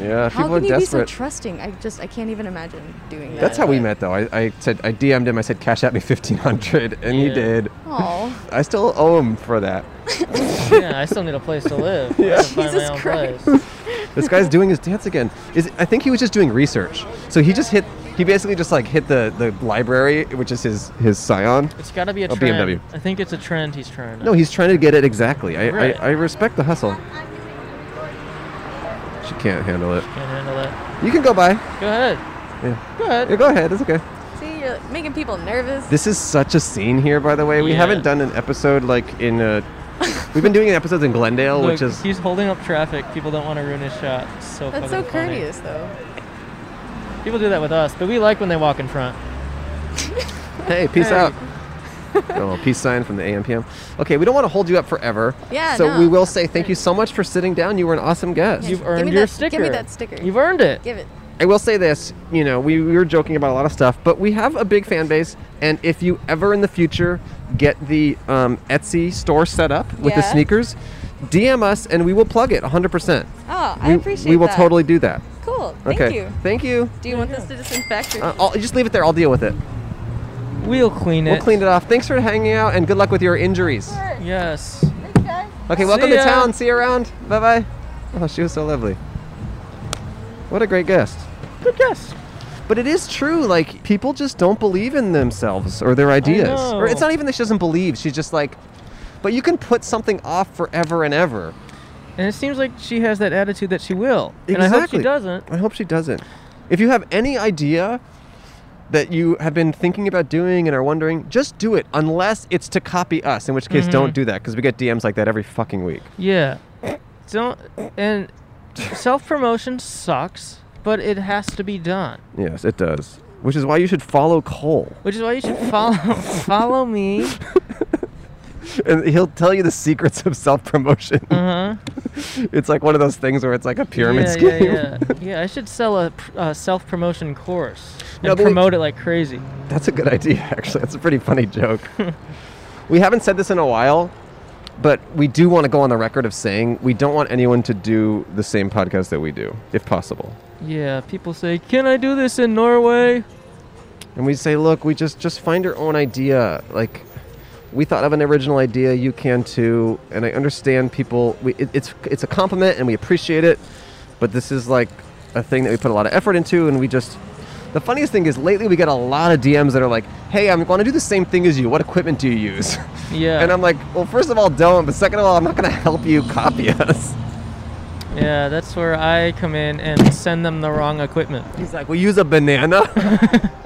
[SPEAKER 2] Yeah,
[SPEAKER 5] how
[SPEAKER 2] people are
[SPEAKER 5] can you be so
[SPEAKER 2] desperate.
[SPEAKER 5] trusting i just i can't even imagine doing that
[SPEAKER 2] that's how we met, though. I, I said I DM'd him. I said, "Cash at me fifteen hundred, and he
[SPEAKER 4] Yeah.
[SPEAKER 2] did.
[SPEAKER 5] oh
[SPEAKER 2] I still owe him for that.
[SPEAKER 4] yeah, I still need a place to live. Yeah.
[SPEAKER 5] Jesus Christ.
[SPEAKER 2] This guy's doing his dance again. Is I think he was just doing research. So he just hit. He basically just like hit the the library, which is his his Scion.
[SPEAKER 4] It's got to be a
[SPEAKER 2] A
[SPEAKER 4] trend.
[SPEAKER 2] BMW.
[SPEAKER 4] I think it's a trend he's trying. to-
[SPEAKER 2] No, he's trying to get it exactly. I,
[SPEAKER 4] Right.
[SPEAKER 2] I, I respect the hustle. She can't handle it.
[SPEAKER 4] Can't handle that.
[SPEAKER 2] You can go by.
[SPEAKER 4] Go ahead.
[SPEAKER 2] Yeah.
[SPEAKER 4] Go ahead.
[SPEAKER 2] Yeah, go ahead. It's okay.
[SPEAKER 5] see you're making people nervous
[SPEAKER 2] This is such a scene here, by the way. We
[SPEAKER 4] Yeah.
[SPEAKER 2] haven't done an episode like in a. We've been doing episodes in Glendale,
[SPEAKER 4] Look,
[SPEAKER 2] which is.
[SPEAKER 4] he's holding up traffic. People don't want to ruin his shot. It's so
[SPEAKER 5] that's so
[SPEAKER 4] fucking funny.
[SPEAKER 5] courteous though
[SPEAKER 4] People do that with us, but we like when they walk in front.
[SPEAKER 2] Hey, peace
[SPEAKER 4] Hey.
[SPEAKER 2] out. Got a little peace sign from the AMPM. Okay, we don't want to hold you up forever.
[SPEAKER 5] Yeah,
[SPEAKER 2] So
[SPEAKER 5] no.
[SPEAKER 2] we will say thank you so much for sitting down. You were an awesome guest.
[SPEAKER 4] You've
[SPEAKER 5] give me
[SPEAKER 4] earned your
[SPEAKER 5] that-
[SPEAKER 4] sticker.
[SPEAKER 5] give me that sticker.
[SPEAKER 4] You've earned it.
[SPEAKER 5] give it
[SPEAKER 2] I will say this, you know, we, we were joking about a lot of stuff, but we have a big fan base, and if you ever in the future get the um, Etsy store set up with the
[SPEAKER 5] Yeah.
[SPEAKER 2] sneakers, DM us and we will plug it 100%.
[SPEAKER 5] oh
[SPEAKER 2] we,
[SPEAKER 5] i appreciate
[SPEAKER 2] We will
[SPEAKER 5] that.
[SPEAKER 2] totally do that.
[SPEAKER 5] cool thank
[SPEAKER 2] Okay.
[SPEAKER 5] you
[SPEAKER 2] Thank you.
[SPEAKER 5] do you want this to disinfect or
[SPEAKER 2] Uh, I'll just leave it there. I'll deal with it.
[SPEAKER 4] We'll clean it.
[SPEAKER 2] We'll clean it off. Thanks for hanging out, and good luck with your injuries.
[SPEAKER 4] Yes.
[SPEAKER 2] Okay,
[SPEAKER 4] See
[SPEAKER 2] welcome to
[SPEAKER 4] ya.
[SPEAKER 2] town. See you around. Bye bye. Oh, she was so lovely. What a great guest.
[SPEAKER 4] Good guess.
[SPEAKER 2] But it is true, like, people just don't believe in themselves or their ideas. Or it's
[SPEAKER 4] know.
[SPEAKER 2] not even that she doesn't believe, she's just like, but you can put something off forever and ever.
[SPEAKER 4] And it seems like she has that attitude that she will. And I hope she doesn't.
[SPEAKER 2] I hope she doesn't. If you have any idea that you have been thinking about doing and are wondering, just do it, unless it's to copy us, in which case,
[SPEAKER 4] Mm-hmm.
[SPEAKER 2] don't do that, because we get DMs like that every fucking week.
[SPEAKER 4] Yeah. Don't. And self promotion sucks, but it has to be done.
[SPEAKER 2] Yes, it does. Which is why you should follow Cole.
[SPEAKER 4] Which is why you should follow follow me.
[SPEAKER 2] and he'll tell you the secrets of self-promotion.
[SPEAKER 4] Uh huh.
[SPEAKER 2] it's like one of those things where it's like a pyramid
[SPEAKER 4] Yeah, yeah,
[SPEAKER 2] scheme.
[SPEAKER 4] yeah. Yeah, I should sell a, pr- uh self promotion course and
[SPEAKER 2] No, but we-
[SPEAKER 4] promote it like crazy.
[SPEAKER 2] That's a good idea, actually. That's a pretty funny joke. we haven't said this in a while, but we do want to go on the record of saying we don't want anyone to do the same podcast that we do, if possible.
[SPEAKER 4] Yeah, people say, "Can I do this in Norway?"
[SPEAKER 2] And we say, look, we just just find your own idea. Like, we thought of an original idea. You can too. And I understand people. We, it, it's it's a compliment, and we appreciate it. But this is like a thing that we put a lot of effort into, and we just The funniest thing is lately we get a lot of DMs that are like, "Hey, I'm going to do the same thing as you. What equipment do you use?"
[SPEAKER 6] Yeah.
[SPEAKER 2] And I'm like, "Well, first of all, don't. But second of all, I'm not going to help you copy us."
[SPEAKER 6] Yeah, that's where I come in and send them the wrong equipment.
[SPEAKER 2] He's like, "We use a banana."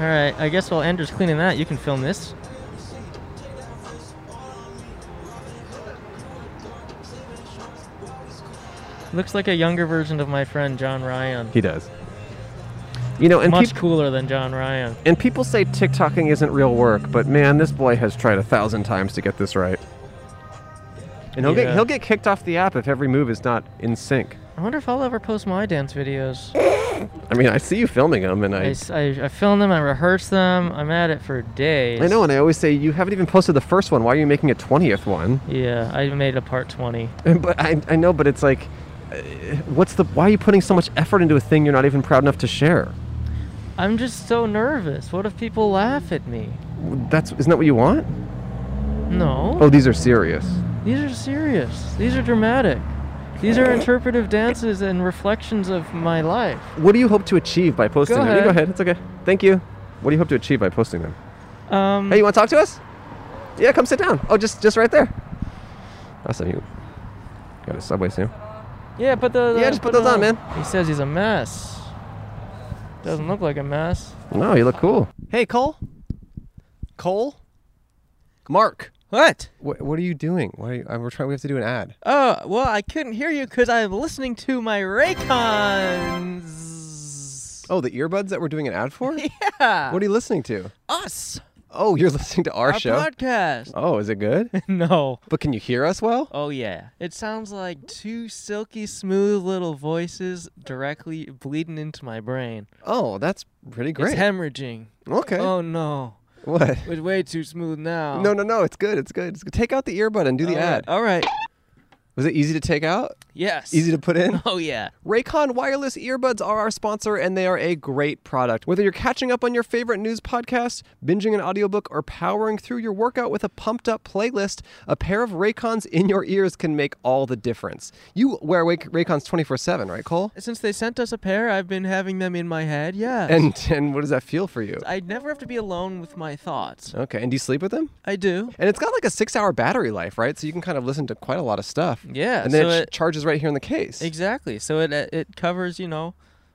[SPEAKER 6] All right, I guess while Andrew's cleaning that, you can film this. Looks like a younger version of my friend John Ryan.
[SPEAKER 2] he does. You know, and
[SPEAKER 6] Much
[SPEAKER 2] peop-
[SPEAKER 6] cooler than John Ryan.
[SPEAKER 2] and people say TikToking isn't real work, but man, this boy has tried a thousand times to get this right. And he'll
[SPEAKER 6] Yeah.
[SPEAKER 2] get he'll get kicked off the app if every move is not in sync.
[SPEAKER 6] I wonder if I'll ever post my dance videos.
[SPEAKER 2] I mean, I see you filming him, and
[SPEAKER 6] I,
[SPEAKER 2] I,
[SPEAKER 6] s- I- I film them, I rehearse them, I'm at it for days.
[SPEAKER 2] I know, and I always say you haven't even posted the first one. Why are you making a twentieth one?
[SPEAKER 6] Yeah, I made a part 20.
[SPEAKER 2] But I, I know, but it's like, uh, what's the? Why are you putting so much effort into a thing you're not even proud enough to share?
[SPEAKER 6] I'm just so nervous. What if people laugh at me?
[SPEAKER 2] That's isn't that what you want?
[SPEAKER 6] No.
[SPEAKER 2] Oh, these are serious.
[SPEAKER 6] These are serious. These are dramatic. These are interpretive dances and reflections of my life.
[SPEAKER 2] What do you hope to achieve by posting
[SPEAKER 6] Go
[SPEAKER 2] them? You go
[SPEAKER 6] ahead.
[SPEAKER 2] ahead. It's okay. Thank you. What do you hope to achieve by posting them?
[SPEAKER 6] Um,
[SPEAKER 2] Hey, you want to talk to us? Yeah, come sit down. Oh, just just right there. Awesome. You got a subway soon.
[SPEAKER 6] yeah, put those.
[SPEAKER 2] Yeah,
[SPEAKER 6] uh,
[SPEAKER 2] just put those on,
[SPEAKER 6] them
[SPEAKER 2] man.
[SPEAKER 6] He says he's a mess. Doesn't look like a mess.
[SPEAKER 2] No, you look cool.
[SPEAKER 4] Hey, Cole. Cole.
[SPEAKER 2] Mark,
[SPEAKER 4] What?
[SPEAKER 2] what, what are you doing? Why are you, uh, we're trying? We have to do an ad.
[SPEAKER 4] Oh, well, I couldn't hear you because I'm listening to my Raycons.
[SPEAKER 2] Oh, the earbuds that we're doing an ad for?
[SPEAKER 4] Yeah.
[SPEAKER 2] What are you listening to?
[SPEAKER 4] Us.
[SPEAKER 2] Oh, you're listening to our,
[SPEAKER 4] Our
[SPEAKER 2] show.
[SPEAKER 4] podcast.
[SPEAKER 2] oh, is it good?
[SPEAKER 4] no.
[SPEAKER 2] but can you hear us well?
[SPEAKER 4] Oh, yeah. It sounds like two silky smooth little voices directly bleeding into my brain.
[SPEAKER 2] Oh, that's pretty great.
[SPEAKER 4] It's hemorrhaging.
[SPEAKER 2] okay.
[SPEAKER 4] Oh, no.
[SPEAKER 2] what?
[SPEAKER 4] It's way too smooth now.
[SPEAKER 2] No, no, no. It's good. It's good. It's good. Take out the earbud and do the
[SPEAKER 4] All right,
[SPEAKER 2] ad.
[SPEAKER 4] All right.
[SPEAKER 2] Was it easy to take out?
[SPEAKER 4] Yes.
[SPEAKER 2] Easy to put in?
[SPEAKER 4] Oh, yeah.
[SPEAKER 2] Raycon wireless earbuds are our sponsor, and they are a great product. Whether you're catching up on your favorite news podcast, binging an audiobook, or powering through your workout with a pumped up playlist, a pair of Raycons in your ears can make all the difference. You wear Ray- Raycons 24 7, right, Cole?
[SPEAKER 4] Since they sent us a pair, I've been having them in my head. Yeah.
[SPEAKER 2] And, and what does that feel for you?
[SPEAKER 4] I never have to be alone with my thoughts.
[SPEAKER 2] Okay, and do you sleep with them?
[SPEAKER 4] I do.
[SPEAKER 2] And it's got like a six hour battery life, right? So you can kind of listen to quite a lot of stuff.
[SPEAKER 4] Yeah,
[SPEAKER 2] And then
[SPEAKER 4] so
[SPEAKER 2] it, ch-
[SPEAKER 4] it-
[SPEAKER 2] charges right here in the case.
[SPEAKER 4] Exactly. So it uh, it covers, you know,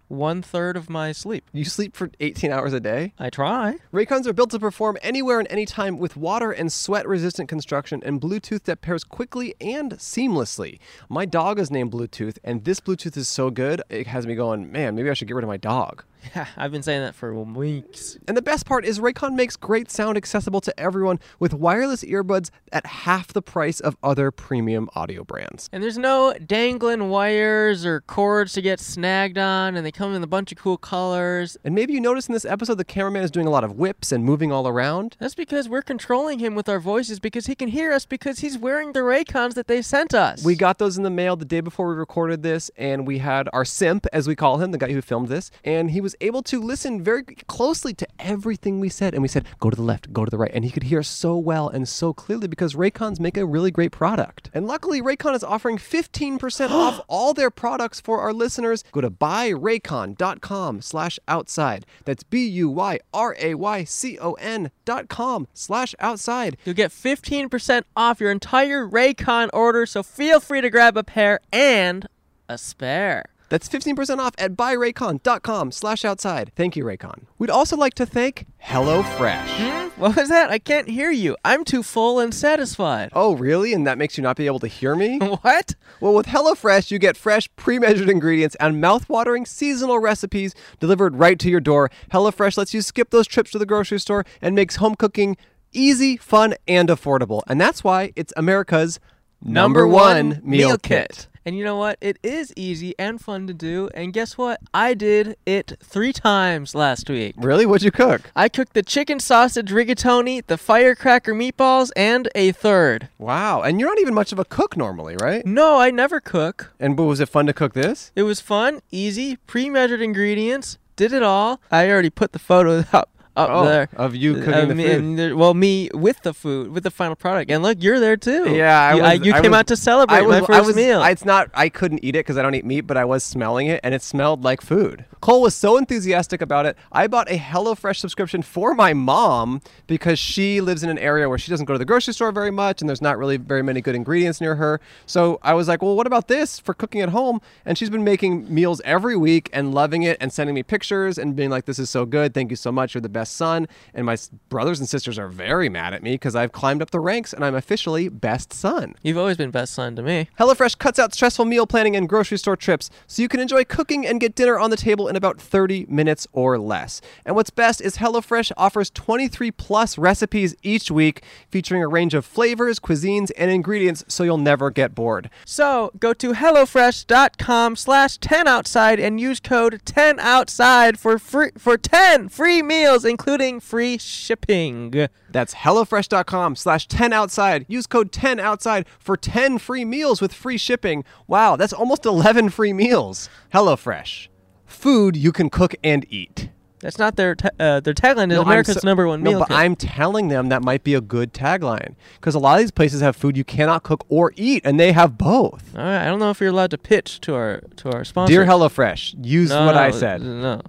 [SPEAKER 4] one third of my sleep.
[SPEAKER 2] you sleep for 18 hours a day?
[SPEAKER 4] I try.
[SPEAKER 2] Raycons are built to perform anywhere and anytime with water and sweat resistant construction and Bluetooth that pairs quickly and seamlessly. My dog is named Bluetooth, and this Bluetooth is so good, it has me going, man, maybe I should get rid of my dog.
[SPEAKER 4] Yeah, I've been saying that for weeks.
[SPEAKER 2] And the best part is Raycon makes great sound accessible to everyone with wireless earbuds at half the price of other premium audio brands.
[SPEAKER 4] And there's no dangling wires or cords to get snagged on, and they come in a bunch of cool colors.
[SPEAKER 2] And maybe you notice in this episode the cameraman is doing a lot of whips and moving all around.
[SPEAKER 4] That's because we're controlling him with our voices because he can hear us because he's wearing the Raycons that they sent us.
[SPEAKER 2] We got those in the mail the day before we recorded this, and we had our simp, as we call him, the guy who filmed this, and he was able to listen very closely to everything we said. And we said, go to the left, go to the right. And he could hear so well and so clearly because Raycons make a really great product. And luckily, Raycon is offering 15% off all their products for our listeners. Go to buyraycon.com slash outside. That's B-U-Y-R-A-Y-C-O-N dot com slash outside.
[SPEAKER 4] You'll get 15% off your entire Raycon order, so feel free to grab a pair and a spare.
[SPEAKER 2] That's 15% off at buyraycon.com slash outside. Thank you, Raycon. We'd also like to thank HelloFresh.
[SPEAKER 4] What was that? I can't hear you. I'm too full and satisfied.
[SPEAKER 2] Oh, really? And that makes you not be able to hear me?
[SPEAKER 4] What?
[SPEAKER 2] Well, with HelloFresh, you get fresh, pre measured ingredients and mouth-watering seasonal recipes delivered right to your door. HelloFresh lets you skip those trips to the grocery store and makes home cooking easy, fun, and affordable. And that's why it's America's number, one, meal, kit.
[SPEAKER 4] And you know what? It is easy and fun to do. And guess what? I did it three times last week.
[SPEAKER 2] Really? What'd you cook?
[SPEAKER 4] I cooked the chicken sausage rigatoni, the firecracker meatballs, and a third.
[SPEAKER 2] Wow. And you're not even much of a cook normally, right?
[SPEAKER 4] No, I never cook.
[SPEAKER 2] And but was it fun to cook this?
[SPEAKER 4] It was fun, easy, pre measured ingredients, did it all. I already put the photos up up
[SPEAKER 2] Oh,
[SPEAKER 4] there
[SPEAKER 2] of you cooking the
[SPEAKER 4] me
[SPEAKER 2] food.
[SPEAKER 4] and there- well, me with the food, with the final product, and look, you're there too.
[SPEAKER 2] Yeah, I
[SPEAKER 4] you,
[SPEAKER 2] was-
[SPEAKER 4] you
[SPEAKER 2] I
[SPEAKER 4] came
[SPEAKER 2] was-
[SPEAKER 4] out to celebrate
[SPEAKER 2] I
[SPEAKER 4] my
[SPEAKER 2] was,
[SPEAKER 4] first
[SPEAKER 2] I was-
[SPEAKER 4] meal.
[SPEAKER 2] I- It's not. I couldn't eat it because I don't eat meat, but I was smelling it, and it smelled like food. Cole was so enthusiastic about it. I bought a HelloFresh subscription for my mom because she lives in an area where she doesn't go to the grocery store very much, and there's not really very many good ingredients near her. So I was like, well, what about this for cooking at home? And she's been making meals every week and loving it, and sending me pictures and being like, this is so good. Thank you so much. You're the best son. And my s- brothers and sisters are very mad at me because I've climbed up the ranks and I'm officially best son.
[SPEAKER 4] You've always been best son to me.
[SPEAKER 2] HelloFresh cuts out stressful meal planning and grocery store trips so you can enjoy cooking and get dinner on the table in about 30 minutes or less. And what's best is HelloFresh offers 23 plus recipes each week featuring a range of flavors, cuisines, and ingredients so you'll never get bored.
[SPEAKER 4] So go to HelloFresh.com slash 10outside and use code 10outside for free, for 10 free meals, including free shipping.
[SPEAKER 2] That's HelloFresh.com slash 10outside. Use code 10outside for 10 free meals with free shipping. Wow, that's almost 11 free meals. HelloFresh. Food you can cook and eat.
[SPEAKER 4] That's not their ta- uh, their tagline. Is
[SPEAKER 2] No, I'm
[SPEAKER 4] America's
[SPEAKER 2] so-
[SPEAKER 4] number one
[SPEAKER 2] no,
[SPEAKER 4] meal
[SPEAKER 2] but
[SPEAKER 4] kit.
[SPEAKER 2] I'm telling them that might be a good tagline because a lot of these places have food you cannot cook or eat, and they have both.
[SPEAKER 4] All right, I don't know if you're allowed to pitch to our to our sponsor.
[SPEAKER 2] Dear HelloFresh, use
[SPEAKER 4] No,
[SPEAKER 2] what
[SPEAKER 4] no,
[SPEAKER 2] I said.
[SPEAKER 4] No.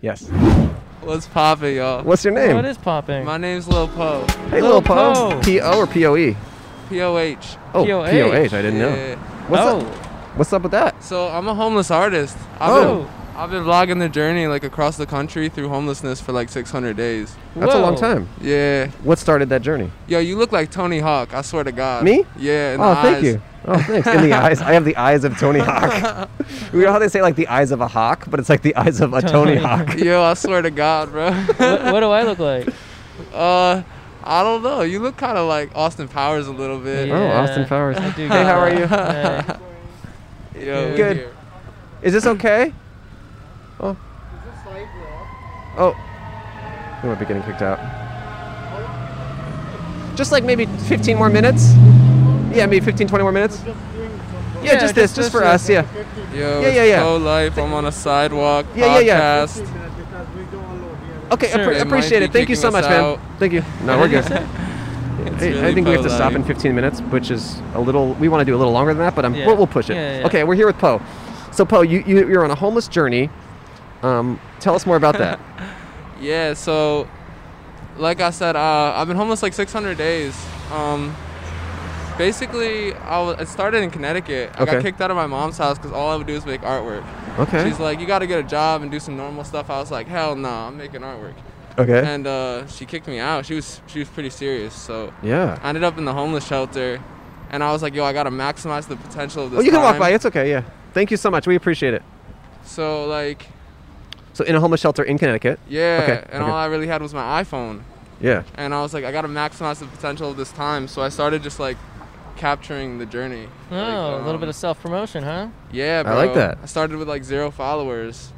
[SPEAKER 2] yes.
[SPEAKER 7] What's poppin', y'all?
[SPEAKER 2] What's your
[SPEAKER 4] What
[SPEAKER 2] name?
[SPEAKER 4] Oh, is popping?
[SPEAKER 7] My name's Lil Po.
[SPEAKER 2] hey,
[SPEAKER 4] Lil Poe.
[SPEAKER 2] P O or P O E?
[SPEAKER 7] P O H.
[SPEAKER 2] Oh, P O
[SPEAKER 4] POH.
[SPEAKER 2] H. I didn't know. What's
[SPEAKER 4] oh,
[SPEAKER 2] up? What's up with that?
[SPEAKER 7] So I'm a homeless artist. I've
[SPEAKER 4] Oh.
[SPEAKER 7] Been, I've been vlogging the journey like across the country through homelessness for like 600 days.
[SPEAKER 2] That's a long
[SPEAKER 4] whoa.
[SPEAKER 2] time.
[SPEAKER 7] Yeah.
[SPEAKER 2] What started that journey?
[SPEAKER 7] Yo, you look like Tony Hawk. I swear to God.
[SPEAKER 2] Me?
[SPEAKER 7] Yeah. in
[SPEAKER 2] oh,
[SPEAKER 7] the
[SPEAKER 2] thank
[SPEAKER 7] eyes.
[SPEAKER 2] you. Oh, thanks. In the eyes, I have the eyes of Tony Hawk. you know how they say like the eyes of a hawk, but it's like the eyes of a Tony Hawk.
[SPEAKER 7] Yo, I swear to God, bro.
[SPEAKER 4] what, what do I look like?
[SPEAKER 7] uh, I don't know. You look kind of like Austin Powers a little bit.
[SPEAKER 4] Yeah.
[SPEAKER 2] Oh, Austin Powers.
[SPEAKER 4] I do
[SPEAKER 2] Hey,
[SPEAKER 4] get
[SPEAKER 2] how are
[SPEAKER 4] that.
[SPEAKER 2] you?
[SPEAKER 4] Hey.
[SPEAKER 7] Yo, we're
[SPEAKER 2] Good.
[SPEAKER 7] here.
[SPEAKER 2] Is this okay? Oh. Oh. We might be getting kicked out. Just like maybe 15 more minutes? Yeah, maybe 15, 20 more minutes? Yeah, just this, just for us, yeah.
[SPEAKER 7] Yo,
[SPEAKER 2] Yeah,
[SPEAKER 7] it's
[SPEAKER 2] yeah, yeah.
[SPEAKER 7] Low life. I'm on a sidewalk.
[SPEAKER 2] Yeah, yeah, yeah.
[SPEAKER 7] podcast.
[SPEAKER 2] Okay,
[SPEAKER 7] Sure,
[SPEAKER 2] appre-
[SPEAKER 7] they might
[SPEAKER 2] appreciate
[SPEAKER 7] be
[SPEAKER 2] it. Thank you so
[SPEAKER 7] kicking us
[SPEAKER 2] much,
[SPEAKER 7] out.
[SPEAKER 2] man. Thank you. No, we're good.
[SPEAKER 7] It's
[SPEAKER 2] I, I
[SPEAKER 7] really
[SPEAKER 2] think we have to
[SPEAKER 7] Poe
[SPEAKER 2] stop in
[SPEAKER 7] life.
[SPEAKER 2] 15 minutes, which is a little. We want to do a little longer than that, but I'm,
[SPEAKER 4] Yeah.
[SPEAKER 2] we'll, we'll push it.
[SPEAKER 4] Yeah, yeah, yeah.
[SPEAKER 2] Okay, we're here with Poe. So Poe, you, you you're on a homeless journey. Um, tell us more about that.
[SPEAKER 7] Yeah, so like I said, uh, I've been homeless like 600 days. Um, basically, I wa- it started in Connecticut. I
[SPEAKER 2] Okay.
[SPEAKER 7] got kicked out of my mom's house because all I would do is make artwork.
[SPEAKER 2] Okay.
[SPEAKER 7] She's like, you got to get a job and do some normal stuff. I was like, hell no, I'm making artwork.
[SPEAKER 2] okay.
[SPEAKER 7] And uh, she kicked me out. She was she was pretty serious. So
[SPEAKER 2] yeah.
[SPEAKER 7] I ended up in the homeless shelter, and I was like, yo, I gotta maximize the potential of this.
[SPEAKER 2] Well, Oh, you can walk
[SPEAKER 7] time.
[SPEAKER 2] by. It's okay. Yeah. Thank you so much. We appreciate it.
[SPEAKER 7] So like,
[SPEAKER 2] So in a homeless shelter in Connecticut.
[SPEAKER 7] yeah.
[SPEAKER 2] Okay,
[SPEAKER 7] And
[SPEAKER 2] okay.
[SPEAKER 7] all I really had was my iPhone.
[SPEAKER 2] Yeah.
[SPEAKER 7] and I was like, I gotta maximize the potential of this time. So I started just like capturing the journey.
[SPEAKER 4] Oh,
[SPEAKER 7] Like,
[SPEAKER 4] a little
[SPEAKER 7] um,
[SPEAKER 4] bit of self promotion, huh?
[SPEAKER 7] yeah, bro.
[SPEAKER 2] I like that.
[SPEAKER 7] I started with like zero followers,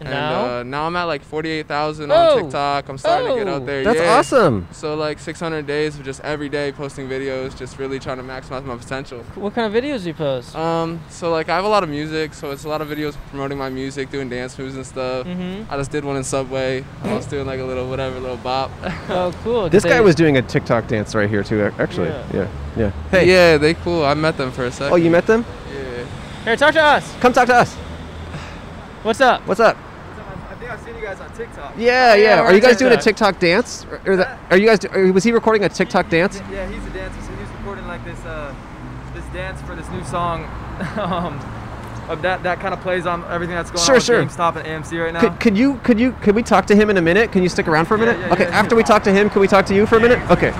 [SPEAKER 4] And
[SPEAKER 7] and
[SPEAKER 4] now?
[SPEAKER 7] uh, now I'm at like 48,000
[SPEAKER 4] Oh.
[SPEAKER 7] on TikTok. I'm starting to get
[SPEAKER 4] Oh.
[SPEAKER 7] out there.
[SPEAKER 2] That's
[SPEAKER 7] yeah.
[SPEAKER 2] awesome.
[SPEAKER 7] So like 600 days of just every day posting videos, just really trying to maximize my potential.
[SPEAKER 4] what kind of videos do you post?
[SPEAKER 7] Um, so like I have a lot of music, so it's a lot of videos promoting my music, doing dance moves and stuff.
[SPEAKER 4] Mhm.
[SPEAKER 7] I just did one in Subway. I was doing like a little whatever, little bop.
[SPEAKER 4] oh, cool.
[SPEAKER 2] This
[SPEAKER 4] They-
[SPEAKER 2] guy was doing a TikTok dance right here too. ac- Actually.
[SPEAKER 4] Yeah.
[SPEAKER 2] Yeah. Yeah. Hey.
[SPEAKER 7] Yeah, they cool. I met them for a second.
[SPEAKER 2] Oh, you met them?
[SPEAKER 7] Yeah.
[SPEAKER 4] Here, talk to us.
[SPEAKER 2] Come talk to us.
[SPEAKER 4] What's up?
[SPEAKER 2] What's up?
[SPEAKER 3] I think I've seen you guys on TikTok.
[SPEAKER 4] yeah,
[SPEAKER 2] Yeah, yeah.
[SPEAKER 4] we're
[SPEAKER 2] Are you
[SPEAKER 4] on
[SPEAKER 2] guys doing a
[SPEAKER 4] TikTok.
[SPEAKER 2] TikTok dance? Or, or that, are you guys? do- Or was he recording a TikTok dance?
[SPEAKER 3] Yeah, he's a dancer, so he's recording like this uh, this dance for this new song. um, of that that kind of plays on everything that's going
[SPEAKER 2] Sure,
[SPEAKER 3] on with
[SPEAKER 2] sure.
[SPEAKER 3] GameStop and AMC right now.
[SPEAKER 2] Could, could you could you could we talk to him in a minute? Can you stick around for a minute?
[SPEAKER 3] yeah,
[SPEAKER 2] okay.
[SPEAKER 3] yeah,
[SPEAKER 2] after
[SPEAKER 3] sure.
[SPEAKER 2] we talk to him, can we talk to you for a minute? Okay.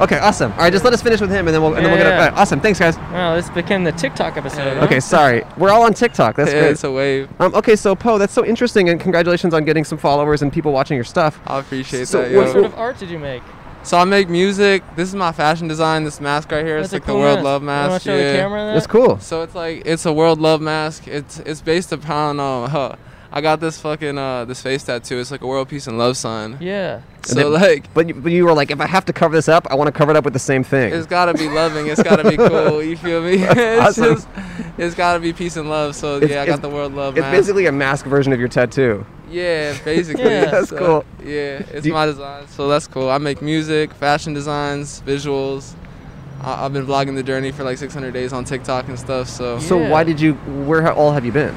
[SPEAKER 2] Okay. Awesome. All right. Just let us finish with him, and then we'll and then
[SPEAKER 4] Yeah,
[SPEAKER 2] we'll get
[SPEAKER 4] yeah.
[SPEAKER 2] it. All right, awesome. Thanks, guys.
[SPEAKER 4] Wow, oh, this became the TikTok episode. huh?
[SPEAKER 2] Okay. Sorry. We're all on TikTok. That's
[SPEAKER 7] Yeah,
[SPEAKER 2] great.
[SPEAKER 7] it's a wave.
[SPEAKER 2] Um, okay, so Poe, that's so interesting, and congratulations on getting some followers and people watching your stuff.
[SPEAKER 7] I appreciate
[SPEAKER 2] So
[SPEAKER 7] that.
[SPEAKER 2] what
[SPEAKER 4] What
[SPEAKER 7] yo.
[SPEAKER 4] sort of art did you make?
[SPEAKER 7] so I make music. This is my fashion design. This mask right here. It's
[SPEAKER 4] That's a
[SPEAKER 7] like
[SPEAKER 4] cool
[SPEAKER 7] the world
[SPEAKER 4] mask.
[SPEAKER 7] love
[SPEAKER 4] You wanna
[SPEAKER 7] mask.
[SPEAKER 4] show
[SPEAKER 7] yeah.
[SPEAKER 4] the camera that?
[SPEAKER 2] That's cool.
[SPEAKER 7] So it's like it's a world love mask. It's it's based upon uh, huh, I got this fucking uh this face tattoo. It's like a world peace and love sign.
[SPEAKER 4] Yeah.
[SPEAKER 7] So
[SPEAKER 2] then-
[SPEAKER 7] like
[SPEAKER 2] But you, but you were like, if I have to cover this up, I want to cover it up with the same thing.
[SPEAKER 7] it's gotta be loving. It's gotta be cool. You feel me? it's
[SPEAKER 2] awesome.
[SPEAKER 7] just- it's gotta be peace and love. So
[SPEAKER 2] It's-
[SPEAKER 7] yeah, I
[SPEAKER 2] it's-
[SPEAKER 7] got the world love
[SPEAKER 2] it's
[SPEAKER 7] mask.
[SPEAKER 2] basically a mask version of your tattoo.
[SPEAKER 7] Yeah, basically.
[SPEAKER 4] Yeah.
[SPEAKER 2] That's cool.
[SPEAKER 7] Yeah, it's
[SPEAKER 2] Do you-
[SPEAKER 7] my design, so that's cool. I make music, fashion designs, visuals. I, I've been vlogging the journey for like 600 days on TikTok and stuff. So
[SPEAKER 2] So
[SPEAKER 4] Yeah.
[SPEAKER 2] why did you? Where ha- all have you been?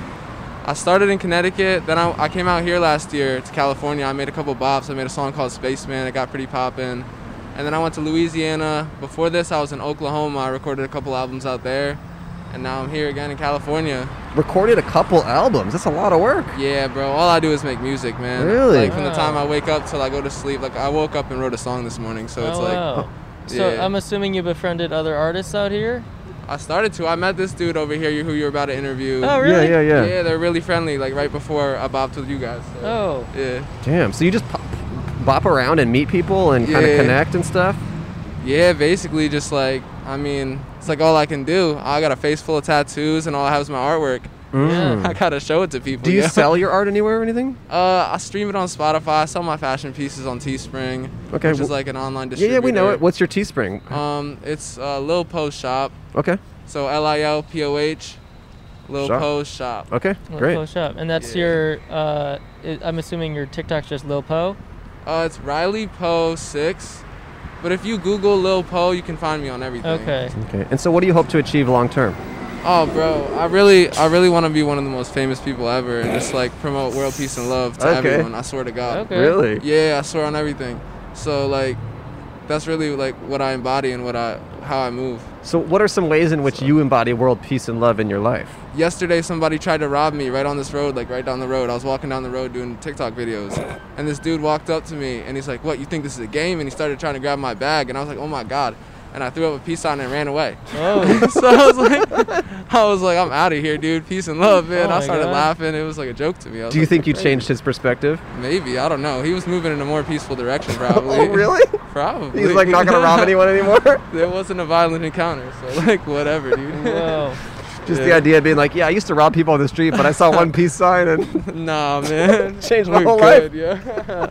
[SPEAKER 7] I started in Connecticut. Then I, I came out here last year to California. I made a couple bops. I made a song called Spaceman. It got pretty poppin'. And then I went to Louisiana. Before this, I was in Oklahoma. I recorded a couple albums out there. And now I'm here again in California.
[SPEAKER 2] Recorded a couple albums. That's a lot of work.
[SPEAKER 7] Yeah, bro. All I do is make music, man.
[SPEAKER 2] Really?
[SPEAKER 7] Like from the
[SPEAKER 4] Wow.
[SPEAKER 7] time I wake up till I go to sleep. Like I woke up and wrote a song this morning, so it's
[SPEAKER 4] oh,
[SPEAKER 7] like
[SPEAKER 4] wow. So
[SPEAKER 7] yeah.
[SPEAKER 4] I'm assuming you befriended other artists out here.
[SPEAKER 7] I started to. I met this dude over here you- who you're about to interview.
[SPEAKER 4] Oh, really?
[SPEAKER 2] Yeah, yeah, yeah.
[SPEAKER 7] Yeah, they're really friendly. Like right before I bopped with you guys. so,
[SPEAKER 4] Oh.
[SPEAKER 7] Yeah.
[SPEAKER 2] Damn. So you just pop, bop around and meet people and kind of
[SPEAKER 7] Yeah.
[SPEAKER 2] connect and stuff.
[SPEAKER 7] Yeah, basically just like I mean, it's like all I can do. I got a face full of tattoos and all I have is my artwork.
[SPEAKER 2] Mm.
[SPEAKER 7] I gotta show it to people.
[SPEAKER 2] Do you
[SPEAKER 7] yo.
[SPEAKER 2] sell your art anywhere or anything?
[SPEAKER 7] Uh, I stream it on Spotify. I sell my fashion pieces on Teespring,
[SPEAKER 2] Okay,
[SPEAKER 7] which is
[SPEAKER 2] well-
[SPEAKER 7] like an online
[SPEAKER 2] Yeah,
[SPEAKER 7] distributor.
[SPEAKER 2] yeah, we know it. What's your Teespring?
[SPEAKER 7] Um, it's uh, Lil Post Shop.
[SPEAKER 2] Okay,
[SPEAKER 7] So L I L P O H, Lil
[SPEAKER 2] Shop.
[SPEAKER 7] Post Shop.
[SPEAKER 2] okay,
[SPEAKER 4] Lil Po
[SPEAKER 2] great.
[SPEAKER 4] shop, and that's
[SPEAKER 7] Yeah.
[SPEAKER 4] your. Uh, i I'm assuming your TikTok's just Lil Po.
[SPEAKER 7] Uh, it's Riley Poe six, but if you Google Lil Poe, you can find me on everything.
[SPEAKER 4] Okay.
[SPEAKER 2] Okay, and so what do you hope to achieve long term?
[SPEAKER 7] Oh, bro, I really, I really want to be one of the most famous people ever, and just like promote world peace and love to
[SPEAKER 2] Okay.
[SPEAKER 7] everyone. I swear to God.
[SPEAKER 4] Okay.
[SPEAKER 2] Really?
[SPEAKER 7] Yeah, I swear on everything. So like, that's really like what I embody and what I, how I move.
[SPEAKER 2] So what are some ways in which you embody world peace and love in your life?
[SPEAKER 7] yesterday somebody tried to rob me right on this road, like right down the road. I was walking down the road doing TikTok videos, and this dude walked up to me and he's like, "What? You think this is a game?" And he started trying to grab my bag, and I was like, "Oh my god!" And I threw up a peace sign and ran away.
[SPEAKER 4] Oh.
[SPEAKER 7] so I was like, I was like, "I'm out of here, dude. Peace and love, man."
[SPEAKER 4] Oh
[SPEAKER 7] I
[SPEAKER 4] my
[SPEAKER 7] started
[SPEAKER 4] God.
[SPEAKER 7] laughing. It was like a joke to me. I was
[SPEAKER 2] Do you
[SPEAKER 7] like,
[SPEAKER 2] think you changed his perspective?
[SPEAKER 7] Maybe I don't know. He was moving in a more peaceful direction, probably.
[SPEAKER 2] Oh, really?
[SPEAKER 7] Probably.
[SPEAKER 2] He's like not gonna rob anyone anymore.
[SPEAKER 7] There wasn't a violent encounter, so like whatever, dude.
[SPEAKER 4] Whoa.
[SPEAKER 2] Just the
[SPEAKER 7] Yeah.
[SPEAKER 2] idea of being like, yeah, I used to rob people on the street, but I saw one peace sign and
[SPEAKER 7] Nah, man.
[SPEAKER 2] Changed my
[SPEAKER 7] We're
[SPEAKER 2] whole
[SPEAKER 7] good, Yeah.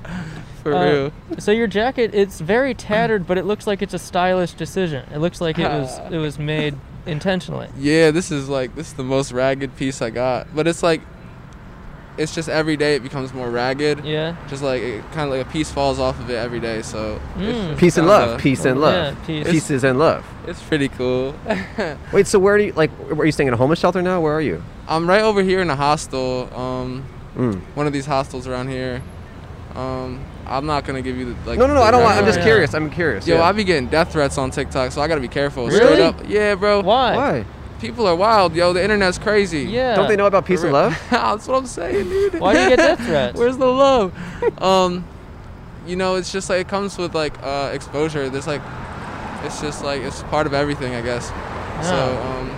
[SPEAKER 7] For
[SPEAKER 4] Uh,
[SPEAKER 7] real.
[SPEAKER 4] so your jacket, it's very tattered, but it looks like it's a stylish decision. It looks like it was it was made intentionally.
[SPEAKER 7] Yeah, this is like this is the most ragged piece I got. But it's like it's just every day it becomes more ragged.
[SPEAKER 4] Yeah.
[SPEAKER 7] Just like it kind of like a piece falls off of it every day, so it's
[SPEAKER 4] Mm.
[SPEAKER 7] just
[SPEAKER 2] peace and
[SPEAKER 7] kinda-
[SPEAKER 2] love, peace and
[SPEAKER 4] Yeah,
[SPEAKER 2] love,
[SPEAKER 4] peace.
[SPEAKER 2] pieces and love.
[SPEAKER 7] It's pretty cool.
[SPEAKER 2] Wait, so where do you like? Are you staying in a homeless shelter now? Where are you?
[SPEAKER 7] I'm right over here in a hostel. Um,
[SPEAKER 2] Mm.
[SPEAKER 7] one of these hostels around here. Um, I'm not gonna give you the like.
[SPEAKER 2] No, no, no.
[SPEAKER 7] the
[SPEAKER 2] I don't want.
[SPEAKER 7] exact
[SPEAKER 2] I'm just
[SPEAKER 4] Yeah.
[SPEAKER 7] number.
[SPEAKER 2] curious. I'm curious.
[SPEAKER 7] Yo,
[SPEAKER 2] yeah.
[SPEAKER 7] I be getting death threats on TikTok, so I gotta be careful.
[SPEAKER 4] Really?
[SPEAKER 7] Straight up, yeah, bro.
[SPEAKER 4] Why?
[SPEAKER 2] Why?
[SPEAKER 7] People are wild, yo. The internet's crazy.
[SPEAKER 4] Yeah.
[SPEAKER 2] Don't they know about peace
[SPEAKER 7] For
[SPEAKER 2] and
[SPEAKER 7] real.
[SPEAKER 2] love?
[SPEAKER 7] That's what I'm saying, dude.
[SPEAKER 4] Why do you get death threats?
[SPEAKER 7] Where's the love? um, you know, it's just like it comes with like uh, exposure. There's like, it's just like it's part of everything, I guess. So
[SPEAKER 4] Yeah.
[SPEAKER 7] um,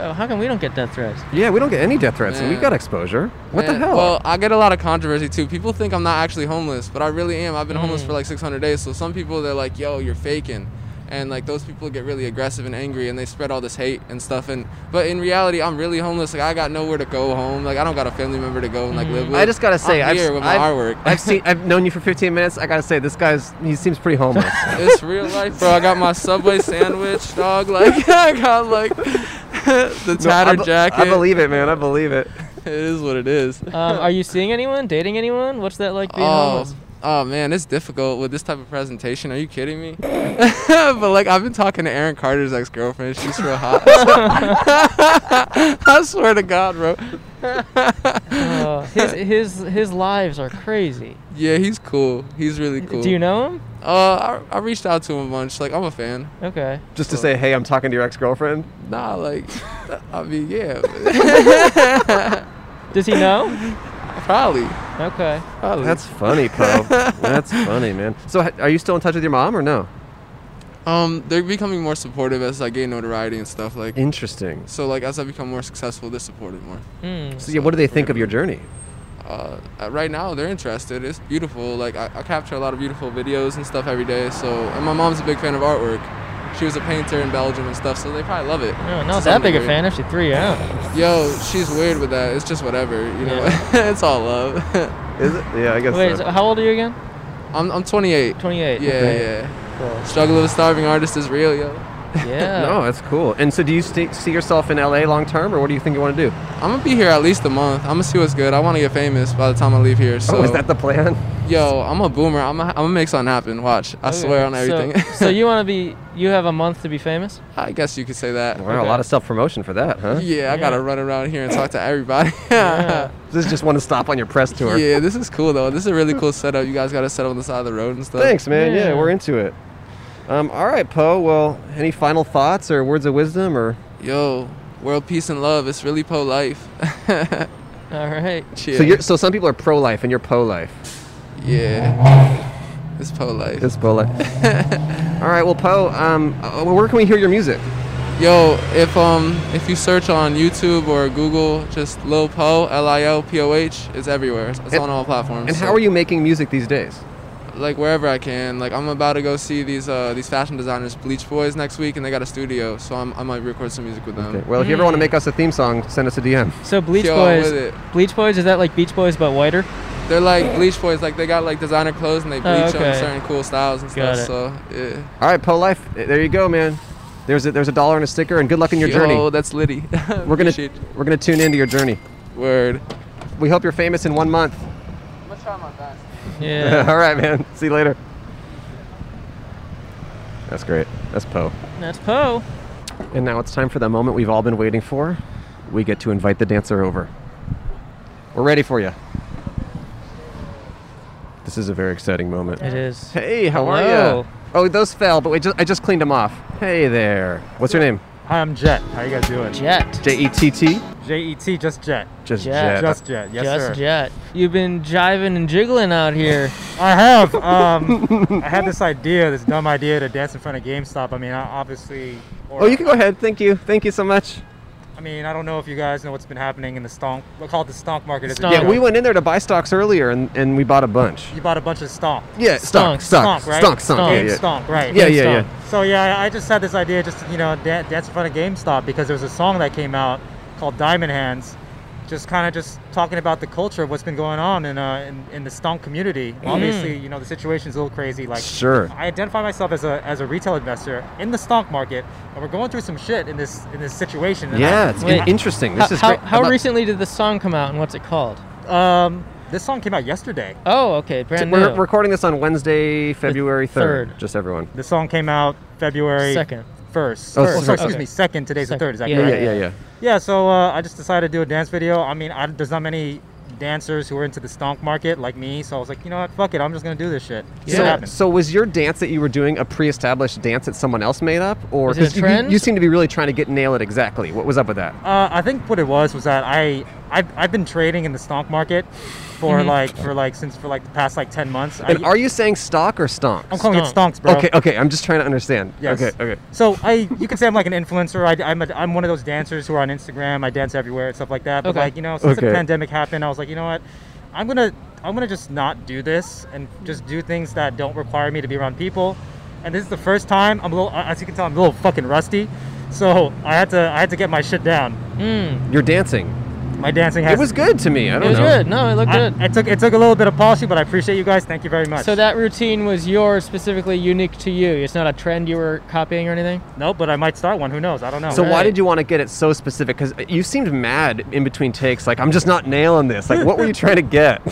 [SPEAKER 4] Uh, How come we don't get death threats?
[SPEAKER 2] Yeah, we don't get any death threats, and we
[SPEAKER 7] Man.
[SPEAKER 2] got exposure. What the
[SPEAKER 7] man-
[SPEAKER 2] hell?
[SPEAKER 7] Eh, Well, I get a lot of controversy too. People think I'm not actually homeless, but I really am. I've been homeless
[SPEAKER 4] Mm.
[SPEAKER 7] for like 600 days. So some people they're like, "Yo, you're faking." And like those people get really aggressive and angry, and they spread all this hate and stuff. And but in reality, I'm really homeless. Like I got nowhere to go home. Like I don't got a family member to go and like live with.
[SPEAKER 2] Mm. I just gotta say,
[SPEAKER 7] I'm
[SPEAKER 2] I've,
[SPEAKER 7] here with my
[SPEAKER 2] I've-
[SPEAKER 7] artwork.
[SPEAKER 2] I've seen, I've known you for 15 minutes. I gotta say, this guy's he seems pretty homeless.
[SPEAKER 7] It's real life, bro. I got my Subway sandwich, dog. Like I got like the
[SPEAKER 2] No, I
[SPEAKER 7] tattered
[SPEAKER 2] be-
[SPEAKER 7] jacket.
[SPEAKER 2] I believe it, man. I believe it.
[SPEAKER 7] it is what it is.
[SPEAKER 4] Um, are you seeing anyone? Dating anyone? What's that like being
[SPEAKER 7] Oh,
[SPEAKER 4] homeless?
[SPEAKER 7] oh man, it's difficult with this type of presentation. Are you kidding me? but like I've been talking to Aaron Carter's ex-girlfriend. She's real hot. I swear to God, bro.
[SPEAKER 4] Uh, his his his lives are crazy.
[SPEAKER 7] Yeah, he's cool. He's really cool.
[SPEAKER 4] Do you know him?
[SPEAKER 7] Uh, I, I reached out to him a bunch. Like I'm a fan.
[SPEAKER 4] Okay.
[SPEAKER 2] Just to say, hey, I'm talking to your ex-girlfriend.
[SPEAKER 7] Nah, like I mean, yeah,
[SPEAKER 4] Does he know?
[SPEAKER 7] probably.
[SPEAKER 4] Okay.
[SPEAKER 7] Probably.
[SPEAKER 2] That's funny, Poe. That's funny, man. So, ha- are you still in touch with your mom or no?
[SPEAKER 7] Um, they're becoming more supportive as I gain notoriety and stuff. Like,
[SPEAKER 2] Interesting.
[SPEAKER 7] so like as I become more successful, they're supported more.
[SPEAKER 4] Mm.
[SPEAKER 2] So, yeah, what do they think of your journey?
[SPEAKER 7] Uh, uh, right now they're interested. It's beautiful. Like I, I capture a lot of beautiful videos and stuff every day. So and my mom's a big fan of artwork. She was a painter in Belgium and stuff, so they probably love it.
[SPEAKER 4] No,
[SPEAKER 7] to
[SPEAKER 4] Oh, not
[SPEAKER 7] some
[SPEAKER 4] that big a
[SPEAKER 7] degree.
[SPEAKER 4] fan. Actually, three out.
[SPEAKER 7] Yo, she's weird with that. It's just whatever, you know. it's all love.
[SPEAKER 2] Is it? Yeah, I guess.
[SPEAKER 4] Wait, so
[SPEAKER 2] so.
[SPEAKER 4] how old are you again?
[SPEAKER 7] I'm I'm 28.
[SPEAKER 4] 28.
[SPEAKER 7] Yeah,
[SPEAKER 4] Okay.
[SPEAKER 7] yeah. Struggle of a starving artist is real, yo.
[SPEAKER 4] Yeah.
[SPEAKER 2] No, that's cool. And so, do you st- see yourself in LA long term, or what do you think you want to do?
[SPEAKER 7] I'm gonna be here at least a month. I'm gonna see what's good. I want to get famous by the time I leave here. So
[SPEAKER 2] oh, is that the plan?
[SPEAKER 7] yo, I'm a boomer. I'm gonna- I'm gonna make something happen. Watch, I
[SPEAKER 4] Okay.
[SPEAKER 7] swear on everything.
[SPEAKER 4] Oh, So, so you want to be? You have a month to be famous?
[SPEAKER 7] I guess you could say that.
[SPEAKER 2] Wow, a lot of self promotion for that, huh?
[SPEAKER 7] Yeah, I gotta run around here and talk to everybody.
[SPEAKER 4] Yeah.
[SPEAKER 7] yeah.
[SPEAKER 2] This is just one to stop on your press tour.
[SPEAKER 7] this is cool though. This is a really cool setup. You guys gotta set up on the side of the road and stuff.
[SPEAKER 2] Thanks, man. Yeah.
[SPEAKER 4] Yeah.
[SPEAKER 2] we're into it. Um, all right, Poe. Well, any final thoughts or words of wisdom or?
[SPEAKER 7] Yo, world peace and love. It's really po life.
[SPEAKER 4] All right.
[SPEAKER 7] Cheers.
[SPEAKER 2] So, you're, so some people are pro life and you're po life.
[SPEAKER 7] yeah. It's po life.
[SPEAKER 2] It's pro life. all right, well, Poe. Um, uh, where can we hear your music?
[SPEAKER 7] Yo, if um if you search on YouTube or Google, just Lil Po, L I L P O H, it's everywhere. It's
[SPEAKER 2] And-
[SPEAKER 7] on all platforms.
[SPEAKER 2] And
[SPEAKER 7] so,
[SPEAKER 2] how are you making music these days?
[SPEAKER 7] Like wherever I can. Like I'm about to go see these uh these fashion designers, Bleach Boys, next week, and they got a studio, so I'm, I might record some music with them.
[SPEAKER 2] Okay, Um, Well, if you ever want to make us a theme song, send us a DM.
[SPEAKER 4] So Bleach
[SPEAKER 7] Yo, I'm with
[SPEAKER 4] Boys.
[SPEAKER 7] it.
[SPEAKER 4] Bleach Boys is that like Beach Boys but whiter?
[SPEAKER 7] They're like Bleach Boys. Like they got like designer clothes and they bleach
[SPEAKER 4] Oh,
[SPEAKER 7] them
[SPEAKER 4] okay.
[SPEAKER 7] certain cool styles and
[SPEAKER 4] Got
[SPEAKER 7] stuff. So yeah.
[SPEAKER 2] All right, Poe Life. uh, There you go, man. There's a, there's a dollar and a sticker, and good luck in your
[SPEAKER 7] Yo,
[SPEAKER 2] journey.
[SPEAKER 7] that's litty.
[SPEAKER 2] We're gonna
[SPEAKER 7] Appreciate you.
[SPEAKER 2] we're gonna tune into your journey.
[SPEAKER 7] word.
[SPEAKER 2] We hope you're famous in one month.
[SPEAKER 7] I'm gonna try my best.
[SPEAKER 4] Yeah.
[SPEAKER 2] All right, man. See you later. That's great. That's Poe.
[SPEAKER 4] That's Poe.
[SPEAKER 2] And now it's time for the moment we've all been waiting for. We get to invite the dancer over. We're ready for you. This is a very exciting moment.
[SPEAKER 4] It is.
[SPEAKER 2] Hey, how are
[SPEAKER 4] Hello.
[SPEAKER 2] you? Oh, those fell, but we just, I just cleaned them off. Hey there. What's your name?
[SPEAKER 8] Hi, I'm Jet. How you guys doing?
[SPEAKER 4] Jet.
[SPEAKER 2] J E T T?
[SPEAKER 8] J E T, just Jet.
[SPEAKER 2] Just E
[SPEAKER 4] Jet.
[SPEAKER 2] Jet.
[SPEAKER 8] Just Jet. Yes,
[SPEAKER 4] Just
[SPEAKER 8] sir.
[SPEAKER 4] Jet. You've been jiving and jiggling out here.
[SPEAKER 8] I have. Um, I had this idea, this dumb idea to dance in front of GameStop. I mean, I obviously. Or,
[SPEAKER 2] Oh, you can go ahead. Thank you. Thank you so much.
[SPEAKER 8] I mean, I don't know if you guys know what's been happening in the stonk. We call it the stonk market. as a
[SPEAKER 4] Stonk.
[SPEAKER 2] Yeah,
[SPEAKER 8] joke.
[SPEAKER 2] we went in there to buy stocks earlier and, and we bought a bunch.
[SPEAKER 8] You bought a bunch of stonk.
[SPEAKER 2] Yeah,
[SPEAKER 4] Stonk,
[SPEAKER 2] stock, stock,
[SPEAKER 8] stonk, right?
[SPEAKER 2] stock, stock.
[SPEAKER 8] Game
[SPEAKER 2] Yeah, yeah.
[SPEAKER 8] stonk, right?
[SPEAKER 2] Yeah, yeah, yeah.
[SPEAKER 8] So yeah, I I just had this idea, just to, you know, dan- dance in front of GameStop because there was a song that came out called Diamond Hands, just kind of just talking about the culture of what's been going on in uh, in, in the stonk community. Obviously, you know, the situation's a little crazy. Like,
[SPEAKER 2] Mm. Sure.
[SPEAKER 8] I identify myself as a as a retail investor in the stonk market, and we're going through some shit in this in this situation. and I-
[SPEAKER 2] Yeah, it's
[SPEAKER 4] Wait.
[SPEAKER 2] interesting.
[SPEAKER 4] How,
[SPEAKER 2] This is
[SPEAKER 4] how,
[SPEAKER 2] great.
[SPEAKER 4] how
[SPEAKER 2] About-
[SPEAKER 4] recently did the song come out and what's it called?
[SPEAKER 8] um, this song came out yesterday.
[SPEAKER 4] Oh, okay, brand
[SPEAKER 2] We're
[SPEAKER 4] new.
[SPEAKER 2] recording this on Wednesday, February 3rd.
[SPEAKER 4] third.
[SPEAKER 2] Just everyone.
[SPEAKER 8] The song came out February
[SPEAKER 4] Second.
[SPEAKER 8] first.
[SPEAKER 2] Oh,
[SPEAKER 8] First.
[SPEAKER 2] first,
[SPEAKER 8] sorry, excuse
[SPEAKER 4] okay.
[SPEAKER 8] me, second. Today's
[SPEAKER 4] Second.
[SPEAKER 8] the third. Is that
[SPEAKER 4] Yeah,
[SPEAKER 8] correct?
[SPEAKER 2] Yeah, yeah, yeah.
[SPEAKER 8] Yeah, so uh, I just decided to do a dance video. I mean, I, there's not many dancers who are into the stonk market like me, so I was like, you know what, fuck it, I'm just gonna do this shit. See what
[SPEAKER 2] So,
[SPEAKER 8] happens.
[SPEAKER 2] so was your dance that you were doing a pre-established dance that someone else made up, or
[SPEAKER 4] Was it a
[SPEAKER 2] 'cause you-
[SPEAKER 4] trend?
[SPEAKER 2] You, you seem to be really trying to get nail it exactly? What was up with that?
[SPEAKER 8] Uh, I think what it was was that I I've, I've been trading in the stonk market for like for like since for like the past like ten months. I,
[SPEAKER 2] And Mm-hmm. are you saying stock or stonks?
[SPEAKER 8] I'm calling
[SPEAKER 4] Stonk.
[SPEAKER 8] it stonks, bro.
[SPEAKER 2] Okay, okay. I'm just trying to understand.
[SPEAKER 8] Yes.
[SPEAKER 2] Okay, okay.
[SPEAKER 8] So I, you can say I'm like an influencer. I, I'm, a, I'm one of those dancers who are on Instagram. I dance everywhere and stuff like that. But
[SPEAKER 4] Okay.
[SPEAKER 8] like you know, since
[SPEAKER 2] Okay.
[SPEAKER 8] the pandemic happened, I was like, you know what, I'm gonna, I'm gonna just not do this and just do things that don't require me to be around people. And this is the first time I'm a little, as you can tell, I'm a little fucking rusty. So I had to, I had to get my shit down.
[SPEAKER 4] Mm,
[SPEAKER 2] You're dancing.
[SPEAKER 8] My dancing
[SPEAKER 2] It
[SPEAKER 8] has.
[SPEAKER 2] was good to me. I
[SPEAKER 4] it
[SPEAKER 2] don't
[SPEAKER 4] was
[SPEAKER 2] know.
[SPEAKER 4] good. No, it looked
[SPEAKER 8] I,
[SPEAKER 4] good.
[SPEAKER 8] it took, it took a little bit of policy, but I appreciate you guys. Thank you very much.
[SPEAKER 4] So that routine was yours specifically unique to you. It's not a trend you were copying or anything.
[SPEAKER 8] no, but I might start one. Who knows? I don't know.
[SPEAKER 2] So why
[SPEAKER 4] Right.
[SPEAKER 2] did you want to get it so specific? Because you seemed mad in between takes. Like I'm just not nailing this. Like what were you trying to get?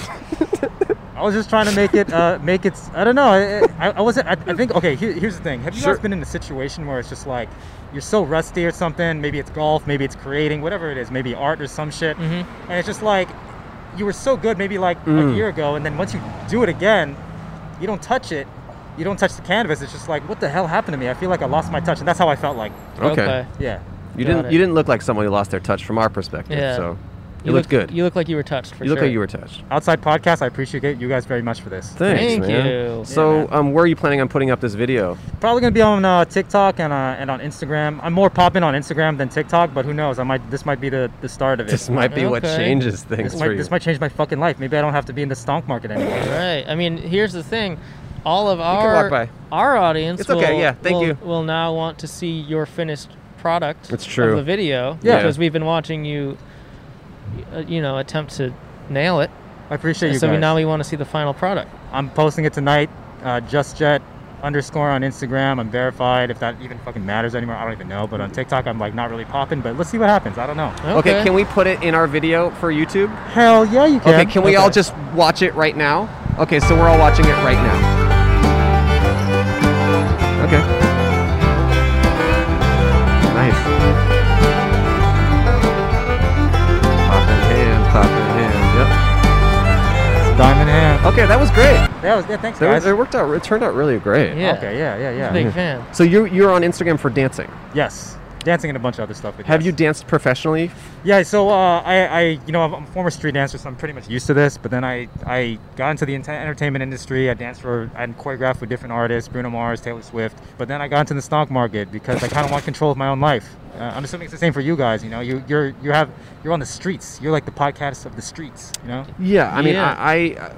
[SPEAKER 8] I was just trying to make it, uh, make it. I don't know. I, I, I wasn't. I, I think. Okay, here, here's the thing. Have you
[SPEAKER 2] Sure.
[SPEAKER 8] guys been in a situation where it's just like you're so rusty or something? Maybe it's golf. Maybe it's creating. Whatever it is. Maybe art or some shit. And it's just like you were so good maybe like a year ago, and then once you do it again, you don't touch it. You don't touch the canvas. It's just like what the hell happened to me? I feel like I lost my touch, and that's how I felt like. Yeah.
[SPEAKER 2] You
[SPEAKER 4] Got
[SPEAKER 2] didn't.
[SPEAKER 4] it.
[SPEAKER 2] You didn't look like someone who lost their touch from our perspective.
[SPEAKER 4] Yeah.
[SPEAKER 2] So you, looked, good. You,
[SPEAKER 4] You look like you were touched. For
[SPEAKER 2] look
[SPEAKER 4] sure.
[SPEAKER 2] like you were touched.
[SPEAKER 8] Outside podcast. I appreciate you guys very much for this.
[SPEAKER 2] Thanks,
[SPEAKER 4] Thank
[SPEAKER 2] man.
[SPEAKER 4] you.
[SPEAKER 2] So um, where are you planning on putting up this video?
[SPEAKER 8] Probably gonna be on uh, TikTok and uh, and on Instagram. I'm more popping on Instagram than TikTok, but who knows? I might this might be the, the start of it.
[SPEAKER 2] This might be what
[SPEAKER 4] Okay.
[SPEAKER 2] changes things
[SPEAKER 8] this,
[SPEAKER 2] for
[SPEAKER 8] might,
[SPEAKER 2] you.
[SPEAKER 8] this might change my fucking life. Maybe I don't have to be in the stonk market anymore.
[SPEAKER 4] Right. I mean, here's the thing. All of
[SPEAKER 2] can
[SPEAKER 4] our
[SPEAKER 2] walk by.
[SPEAKER 4] our audience
[SPEAKER 2] It's okay,
[SPEAKER 4] will,
[SPEAKER 2] yeah, thank
[SPEAKER 4] will,
[SPEAKER 2] you.
[SPEAKER 4] will now want to see your finished product
[SPEAKER 2] That's true.
[SPEAKER 4] of the video
[SPEAKER 2] Yeah.
[SPEAKER 4] because we've been watching you uh, you know attempt to nail it
[SPEAKER 8] I appreciate you
[SPEAKER 4] so we-
[SPEAKER 8] guys.
[SPEAKER 4] now we want to see the final product
[SPEAKER 8] I'm posting it tonight. Uh, Just Jet, underscore on Instagram. I'm verified. If that even fucking matters anymore, I don't even know. But on TikTok, I'm like not really popping. But let's see what happens. I don't know.
[SPEAKER 2] Okay. can we put it in our video for YouTube?
[SPEAKER 8] Hell yeah, you can.
[SPEAKER 2] Okay, can we all just watch it right now? Okay, so we're all watching it right now. Okay. Nice. Clapping hand, clapping hand.
[SPEAKER 8] diamond hand?
[SPEAKER 2] Yep. Okay, that was great.
[SPEAKER 8] That was yeah. Thanks
[SPEAKER 2] That was-
[SPEAKER 8] guys.
[SPEAKER 2] it worked out. It turned out really great.
[SPEAKER 4] Yeah.
[SPEAKER 8] Okay. Yeah. Yeah. Yeah.
[SPEAKER 2] Mm-hmm.
[SPEAKER 4] Big fan.
[SPEAKER 2] So you you're on Instagram for dancing.
[SPEAKER 8] Yes. Dancing and a bunch of other stuff. but
[SPEAKER 2] Have
[SPEAKER 8] yes.
[SPEAKER 2] you danced professionally?
[SPEAKER 8] Yeah, so uh, I, I, you know, I'm I'm a former street dancer, so I'm pretty much used to this. But then I, I got into the ent- entertainment industry. I danced for, I choreographed with different artists, Bruno Mars, Taylor Swift. But then I got into the stock market because I kind of want control of my own life. Uh, I'm assuming it's the same for you guys. You know, you, you're, you have, you're on the streets. You're like the podcast of the streets. You know.
[SPEAKER 2] Yeah, I mean,
[SPEAKER 4] Yeah.
[SPEAKER 2] I, I uh,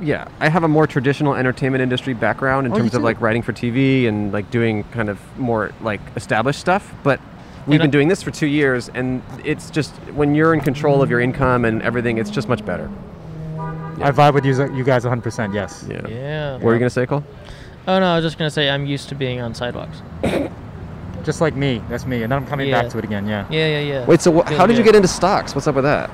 [SPEAKER 2] yeah, I have a more traditional entertainment industry background in
[SPEAKER 8] Oh, you
[SPEAKER 2] terms of
[SPEAKER 8] do?
[SPEAKER 2] like writing for TV and like doing kind of more like established stuff, but. We've
[SPEAKER 4] And I-
[SPEAKER 2] been doing this for two years, and it's just when you're in control of your income and everything, it's just much better. Yeah.
[SPEAKER 8] I vibe with you, you guys 100%. Yes.
[SPEAKER 2] Yeah.
[SPEAKER 4] Yeah.
[SPEAKER 2] What were you gonna say, Cole?
[SPEAKER 4] Oh no, I was just gonna say I'm used to being on sidewalks.
[SPEAKER 8] Just like me. That's me. And then I'm coming
[SPEAKER 4] Yeah.
[SPEAKER 8] back to it again. Yeah.
[SPEAKER 4] Yeah, yeah, yeah.
[SPEAKER 2] Wait, so wh-
[SPEAKER 4] Yeah,
[SPEAKER 2] how did you
[SPEAKER 4] yeah.
[SPEAKER 2] get into stocks? What's up with that?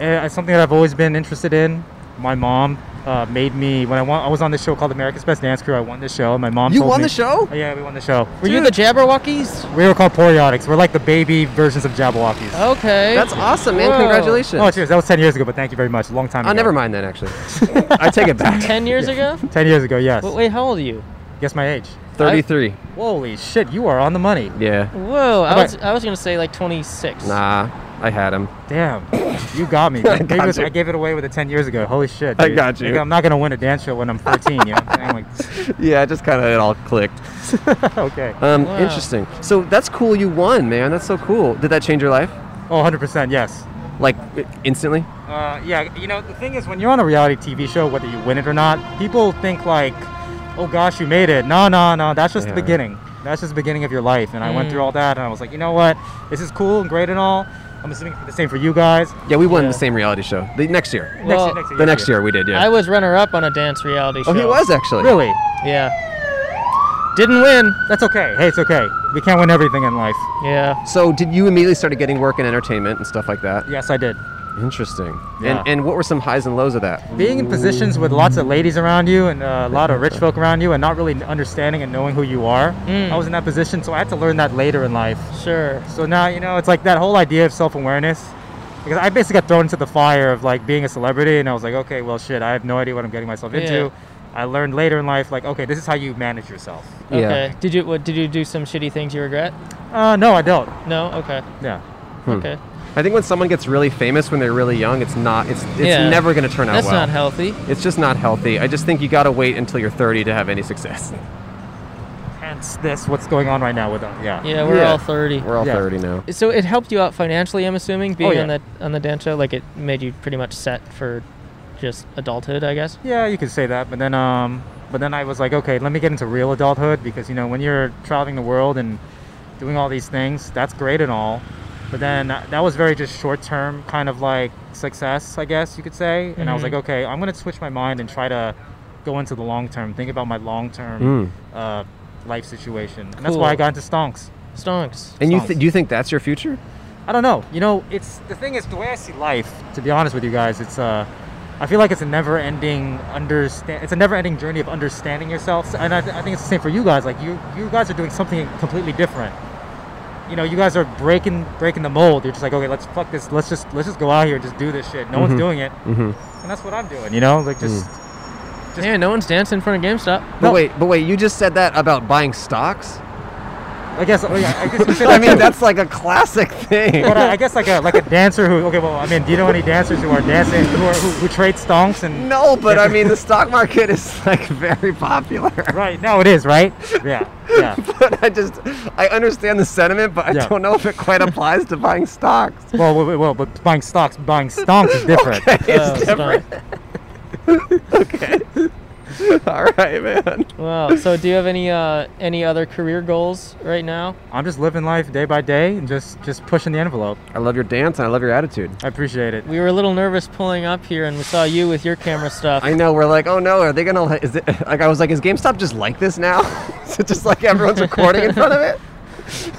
[SPEAKER 8] Uh, it's something that I've always been interested in. My mom uh, made me when I won. I was on this show called America's Best Dance Crew. I won this show. My mom.
[SPEAKER 2] You
[SPEAKER 8] told
[SPEAKER 2] won
[SPEAKER 8] me-
[SPEAKER 2] the show?
[SPEAKER 8] Oh, yeah, we won the show.
[SPEAKER 4] Were you the Jabberwockies?
[SPEAKER 8] We were called Poriotics. We're like the baby versions of Jabberwockies.
[SPEAKER 2] Oh,
[SPEAKER 4] Okay.
[SPEAKER 2] That's awesome, man!
[SPEAKER 4] Whoa.
[SPEAKER 2] Congratulations.
[SPEAKER 8] Oh, cheers. That was ten years ago, but thank you very much. A long time.
[SPEAKER 2] Oh,
[SPEAKER 8] ago.
[SPEAKER 2] never mind then. Actually, I take it back.
[SPEAKER 4] Ten years ago?
[SPEAKER 8] Ten years ago, yes.
[SPEAKER 4] Wait, wait, how old are you?
[SPEAKER 8] Guess my age.
[SPEAKER 2] Thirty-three.
[SPEAKER 8] Holy shit, you are on the money.
[SPEAKER 2] Yeah.
[SPEAKER 4] Whoa, I
[SPEAKER 8] Okay.
[SPEAKER 4] was I was gonna say like 26.
[SPEAKER 2] Nah, I had him.
[SPEAKER 8] Damn, you got me.
[SPEAKER 2] I
[SPEAKER 8] Maybe
[SPEAKER 2] got
[SPEAKER 8] it was-
[SPEAKER 2] you.
[SPEAKER 8] I gave it away with it ten years ago. Holy shit.
[SPEAKER 2] I
[SPEAKER 8] dude.
[SPEAKER 2] got you.
[SPEAKER 8] Like, I'm not gonna win a dance show when I'm 14. you know? I'm like,
[SPEAKER 2] Yeah, it just kind of it all clicked.
[SPEAKER 8] okay.
[SPEAKER 2] Um,
[SPEAKER 4] Wow.
[SPEAKER 2] Interesting. So that's cool. You won, man. That's so cool. Did that change your life?
[SPEAKER 8] Oh, 100%. Yes.
[SPEAKER 2] Like i- instantly?
[SPEAKER 8] Uh, yeah, you know, the thing is, when you're on a reality TV show, whether you win it or not, people think like, oh gosh, you made it. No, no, no, that's just
[SPEAKER 2] Yeah. Mm.
[SPEAKER 8] the beginning. That's just the beginning of your life. And I went through all that, and I was like, you know what? This is cool and great and all. I'm assuming the same for you guys.
[SPEAKER 2] Yeah, we won
[SPEAKER 4] Yeah.
[SPEAKER 2] the same reality show. The next year.
[SPEAKER 8] Next
[SPEAKER 4] Well,
[SPEAKER 8] year, next year,
[SPEAKER 2] The next year we did. Yeah.
[SPEAKER 4] I was runner up on a dance reality show.
[SPEAKER 2] oh, he was actually.
[SPEAKER 8] Really?
[SPEAKER 4] Yeah. Didn't win.
[SPEAKER 8] That's okay. Hey, it's okay. We can't win everything in life.
[SPEAKER 4] Yeah.
[SPEAKER 2] So did you immediately started getting work in entertainment and stuff like that?
[SPEAKER 8] Yes, I did.
[SPEAKER 2] Interesting.
[SPEAKER 8] Yeah.
[SPEAKER 2] And and what were some highs and lows of that?
[SPEAKER 8] Being in positions with lots of ladies around you and uh, a lot of rich folk around you and not really understanding and knowing who you are,
[SPEAKER 4] Mm.
[SPEAKER 8] I was in that position, so I had to learn that later in life.
[SPEAKER 4] Sure.
[SPEAKER 8] So now you know it's like that whole idea of self-awareness. Because I basically got thrown into the fire of like being a celebrity, and I was like, okay, well, shit, I have no idea what I'm getting myself
[SPEAKER 4] Yeah.
[SPEAKER 8] into. I learned later in life, like, okay, this is how you manage yourself.
[SPEAKER 2] Yeah.
[SPEAKER 4] Okay. Did you what did you do some shitty things you regret?
[SPEAKER 8] Uh, no, I don't.
[SPEAKER 4] No? Okay.
[SPEAKER 8] Yeah.
[SPEAKER 2] Hmm.
[SPEAKER 4] Okay.
[SPEAKER 2] I think when someone gets really famous when they're really young, it's not. It's it's
[SPEAKER 4] Yeah.
[SPEAKER 2] never going to turn out
[SPEAKER 4] That's
[SPEAKER 2] well.
[SPEAKER 4] not healthy.
[SPEAKER 2] it's just not healthy. I just think you got to wait until you're 30 to have any success.
[SPEAKER 8] Hence this, what's going on right now with them. Yeah.
[SPEAKER 4] Yeah, we're
[SPEAKER 2] Yeah.
[SPEAKER 4] all 30.
[SPEAKER 2] We're Oh, all
[SPEAKER 8] Yeah.
[SPEAKER 2] 30 now.
[SPEAKER 4] so it helped you out financially, I'm assuming, being
[SPEAKER 8] yeah.
[SPEAKER 4] on the on the dance show. Like it made you pretty much set for just adulthood, I guess.
[SPEAKER 8] Yeah, you could say that, but then um, but then I was like, okay, let me get into real adulthood because you know when you're traveling the world and doing all these things, that's great and all, but then uh, that was very just short-term kind of like success, I guess you could say. And I was
[SPEAKER 4] Mhm.
[SPEAKER 8] like, okay, I'm gonna switch my mind and try to go into the long term, think about my long-term
[SPEAKER 2] Mm.
[SPEAKER 8] uh, life situation, and that's why I
[SPEAKER 4] Cool.
[SPEAKER 8] got into stonks.
[SPEAKER 4] Stonks.
[SPEAKER 2] And you
[SPEAKER 8] Sounds-
[SPEAKER 2] th- do you think that's your future?
[SPEAKER 8] I don't know. You know, it's the thing is the way I see life. To be honest with you guys, it's uh, I feel like it's a never-ending understand. It's a never-ending journey of understanding yourself, and I, I think it's the same for you guys. Like you, you guys are doing something completely different. You know, you guys are breaking breaking the mold. You're just like, okay, let's fuck this. Let's just let's just go out here and just do this shit. No one's doing it,
[SPEAKER 2] Mm-hmm. Mm.
[SPEAKER 8] and that's what I'm doing. You know, like just just-
[SPEAKER 4] yeah, no one's dancing in front of GameStop.
[SPEAKER 2] But
[SPEAKER 8] No.
[SPEAKER 2] wait, but wait, you just said that about buying stocks?
[SPEAKER 8] I guess. Oh yeah, I guess. you said
[SPEAKER 2] I
[SPEAKER 8] that
[SPEAKER 2] mean,
[SPEAKER 8] too.
[SPEAKER 2] that's like a classic thing.
[SPEAKER 8] But I, I guess like a like a dancer who. Okay, well, I mean, do you know any dancers who are dancing who are, who, who trade stonks and?
[SPEAKER 2] No, but I mean, the stock market is like very popular.
[SPEAKER 8] Right now it is right. Yeah. Yeah.
[SPEAKER 2] But I just, I understand the sentiment, but I
[SPEAKER 8] Yeah.
[SPEAKER 2] don't know if it quite applies to buying stocks.
[SPEAKER 8] Well, well, well, but buying stocks, buying stonks is different.
[SPEAKER 2] It's
[SPEAKER 4] Oh,
[SPEAKER 2] different.
[SPEAKER 4] stonk.
[SPEAKER 2] All right, man.
[SPEAKER 4] Wow. So, do you have any uh, any other career goals right now?
[SPEAKER 8] I'm just living life day by day and just just pushing the envelope.
[SPEAKER 2] I love your dance and I love your attitude.
[SPEAKER 8] I appreciate it.
[SPEAKER 4] We were a little nervous pulling up here, and we saw you with your camera stuff.
[SPEAKER 2] I know we're like, oh no, are they gonna? li- Is it like I was like, is GameStop just like this now? is it just like everyone's recording in front of it?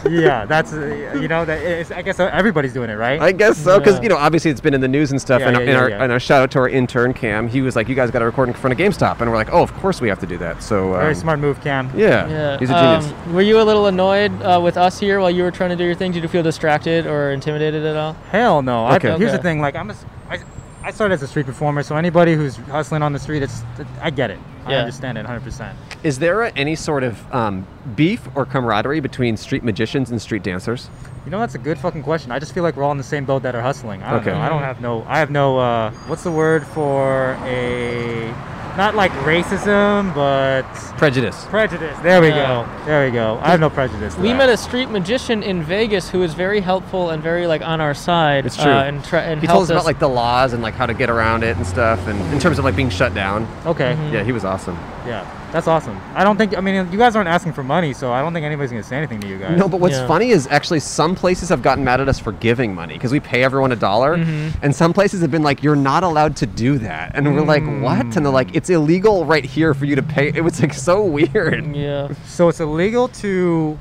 [SPEAKER 8] yeah, that's uh, you know that is, I guess uh, everybody's doing it, right?
[SPEAKER 2] I guess so, because
[SPEAKER 4] Yeah.
[SPEAKER 2] you know, obviously it's been in the news and stuff.
[SPEAKER 8] Yeah,
[SPEAKER 2] and,
[SPEAKER 8] yeah,
[SPEAKER 2] and
[SPEAKER 8] yeah,
[SPEAKER 2] our
[SPEAKER 8] yeah.
[SPEAKER 2] and our shout out to our intern Cam. He was like, you guys got to record in front of GameStop, and we're like, oh, of course we have to do that. So um,
[SPEAKER 8] Very smart move, Cam.
[SPEAKER 2] Yeah,
[SPEAKER 4] Yeah.
[SPEAKER 2] he's a genius.
[SPEAKER 4] Um, were you a little annoyed uh, with us here while you were trying to do your thing? Did you feel distracted or intimidated at all?
[SPEAKER 8] Hell no. I,
[SPEAKER 2] Okay.
[SPEAKER 8] Here's the
[SPEAKER 4] Okay.
[SPEAKER 8] thing, like I'm a, s- I, I started as a street performer, so anybody who's hustling on the street, it's I get it. I
[SPEAKER 4] Yeah.
[SPEAKER 8] understand it 100. percent
[SPEAKER 2] Is there uh, any sort of um, beef or camaraderie between street magicians and street dancers?
[SPEAKER 8] You know that's a good fucking question. I just feel like we're all in the same boat that are hustling. I don't
[SPEAKER 2] Okay.
[SPEAKER 8] know. I don't have no. I have no. Uh, what's the word for a not like racism, but
[SPEAKER 2] Prejudice.
[SPEAKER 8] prejudice. There we
[SPEAKER 4] Yeah.
[SPEAKER 8] go. There we go. I have no prejudice. to
[SPEAKER 4] We
[SPEAKER 8] that.
[SPEAKER 4] met a street magician in Vegas who was very helpful and very like on our side.
[SPEAKER 2] It's true.
[SPEAKER 4] Uh, and try and
[SPEAKER 2] He told
[SPEAKER 4] helped
[SPEAKER 2] us about like
[SPEAKER 4] us.
[SPEAKER 2] the laws and like how to get around it and stuff, and in terms of like being shut down.
[SPEAKER 8] Okay.
[SPEAKER 2] Yeah, he was awesome.
[SPEAKER 8] Yeah. That's awesome. I don't think. I mean, you guys aren't asking for money, so I don't think anybody's gonna say anything to you guys.
[SPEAKER 2] No, but what's
[SPEAKER 4] Yeah.
[SPEAKER 2] funny is actually some places have gotten mad at us for giving money because we pay everyone a dollar,
[SPEAKER 4] Mm-hmm.
[SPEAKER 2] and some places have been like, "You're not allowed to do that," and we're like, "What?" And they're
[SPEAKER 4] Mm.
[SPEAKER 2] like, "It's illegal right here for you to pay." It was like so weird.
[SPEAKER 4] yeah.
[SPEAKER 8] So it's illegal to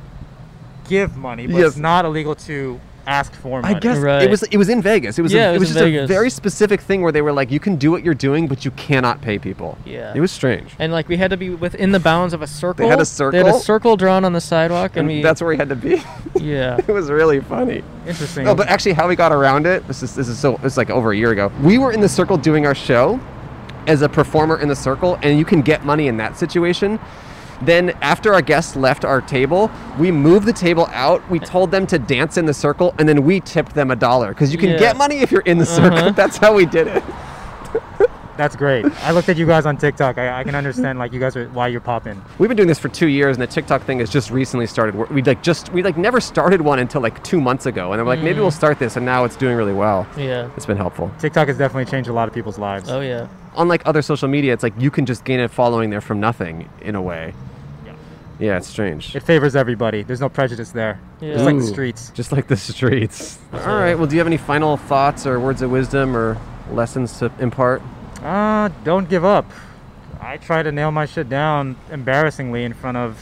[SPEAKER 8] give money, but
[SPEAKER 2] Yes.
[SPEAKER 8] it's not illegal to ask for money.
[SPEAKER 2] I guess it
[SPEAKER 4] Right.
[SPEAKER 2] was it was in Vegas. It was
[SPEAKER 4] Yeah,
[SPEAKER 2] a,
[SPEAKER 4] it
[SPEAKER 2] it was,
[SPEAKER 4] was in
[SPEAKER 2] just a
[SPEAKER 4] Vegas.
[SPEAKER 2] very specific thing where they were like, "You can do what you're doing, but you cannot pay people."
[SPEAKER 4] Yeah.
[SPEAKER 2] it was strange.
[SPEAKER 4] And like we had to be within the bounds of a circle. They had
[SPEAKER 2] circle?
[SPEAKER 4] a circle drawn on the sidewalk, and,
[SPEAKER 2] And
[SPEAKER 4] we.
[SPEAKER 2] that's where we had to be.
[SPEAKER 4] yeah.
[SPEAKER 2] it was really funny.
[SPEAKER 8] Interesting.
[SPEAKER 2] No, but actually, how we got around it. This is this is so it's like over a year ago. We were in the circle doing our show as a performer in the circle, and you can get money in that situation. Then after our guests left our table, we moved the table out. We told them to dance in the circle, and then we tipped them a dollar because you can
[SPEAKER 4] Yeah. Uh-huh.
[SPEAKER 2] get money if you're in the circle. That's how we did it.
[SPEAKER 8] That's great. I looked at you guys on TikTok. I, I can understand like you guys are why you're popping.
[SPEAKER 2] We've been doing this for two years, and the TikTok thing has just recently started. We like just we like never started one until like two months ago, and I'm like maybe we'll start this, and now it's doing really well.
[SPEAKER 4] Mm. Yeah.
[SPEAKER 2] It's been helpful.
[SPEAKER 8] TikTok has definitely changed a lot of people's lives.
[SPEAKER 4] Oh yeah.
[SPEAKER 2] unlike other social media, it's like you can just gain a following there from nothing in a way. Yeah, it's strange.
[SPEAKER 8] It favors everybody. There's no prejudice there. It's
[SPEAKER 4] Yeah.
[SPEAKER 8] like the
[SPEAKER 2] Ooh.
[SPEAKER 8] streets.
[SPEAKER 2] Just like the streets. All right. Well, do you have any final thoughts or words of wisdom or lessons to impart?
[SPEAKER 8] Uh, don't give up. I try to nail my shit down embarrassingly in front of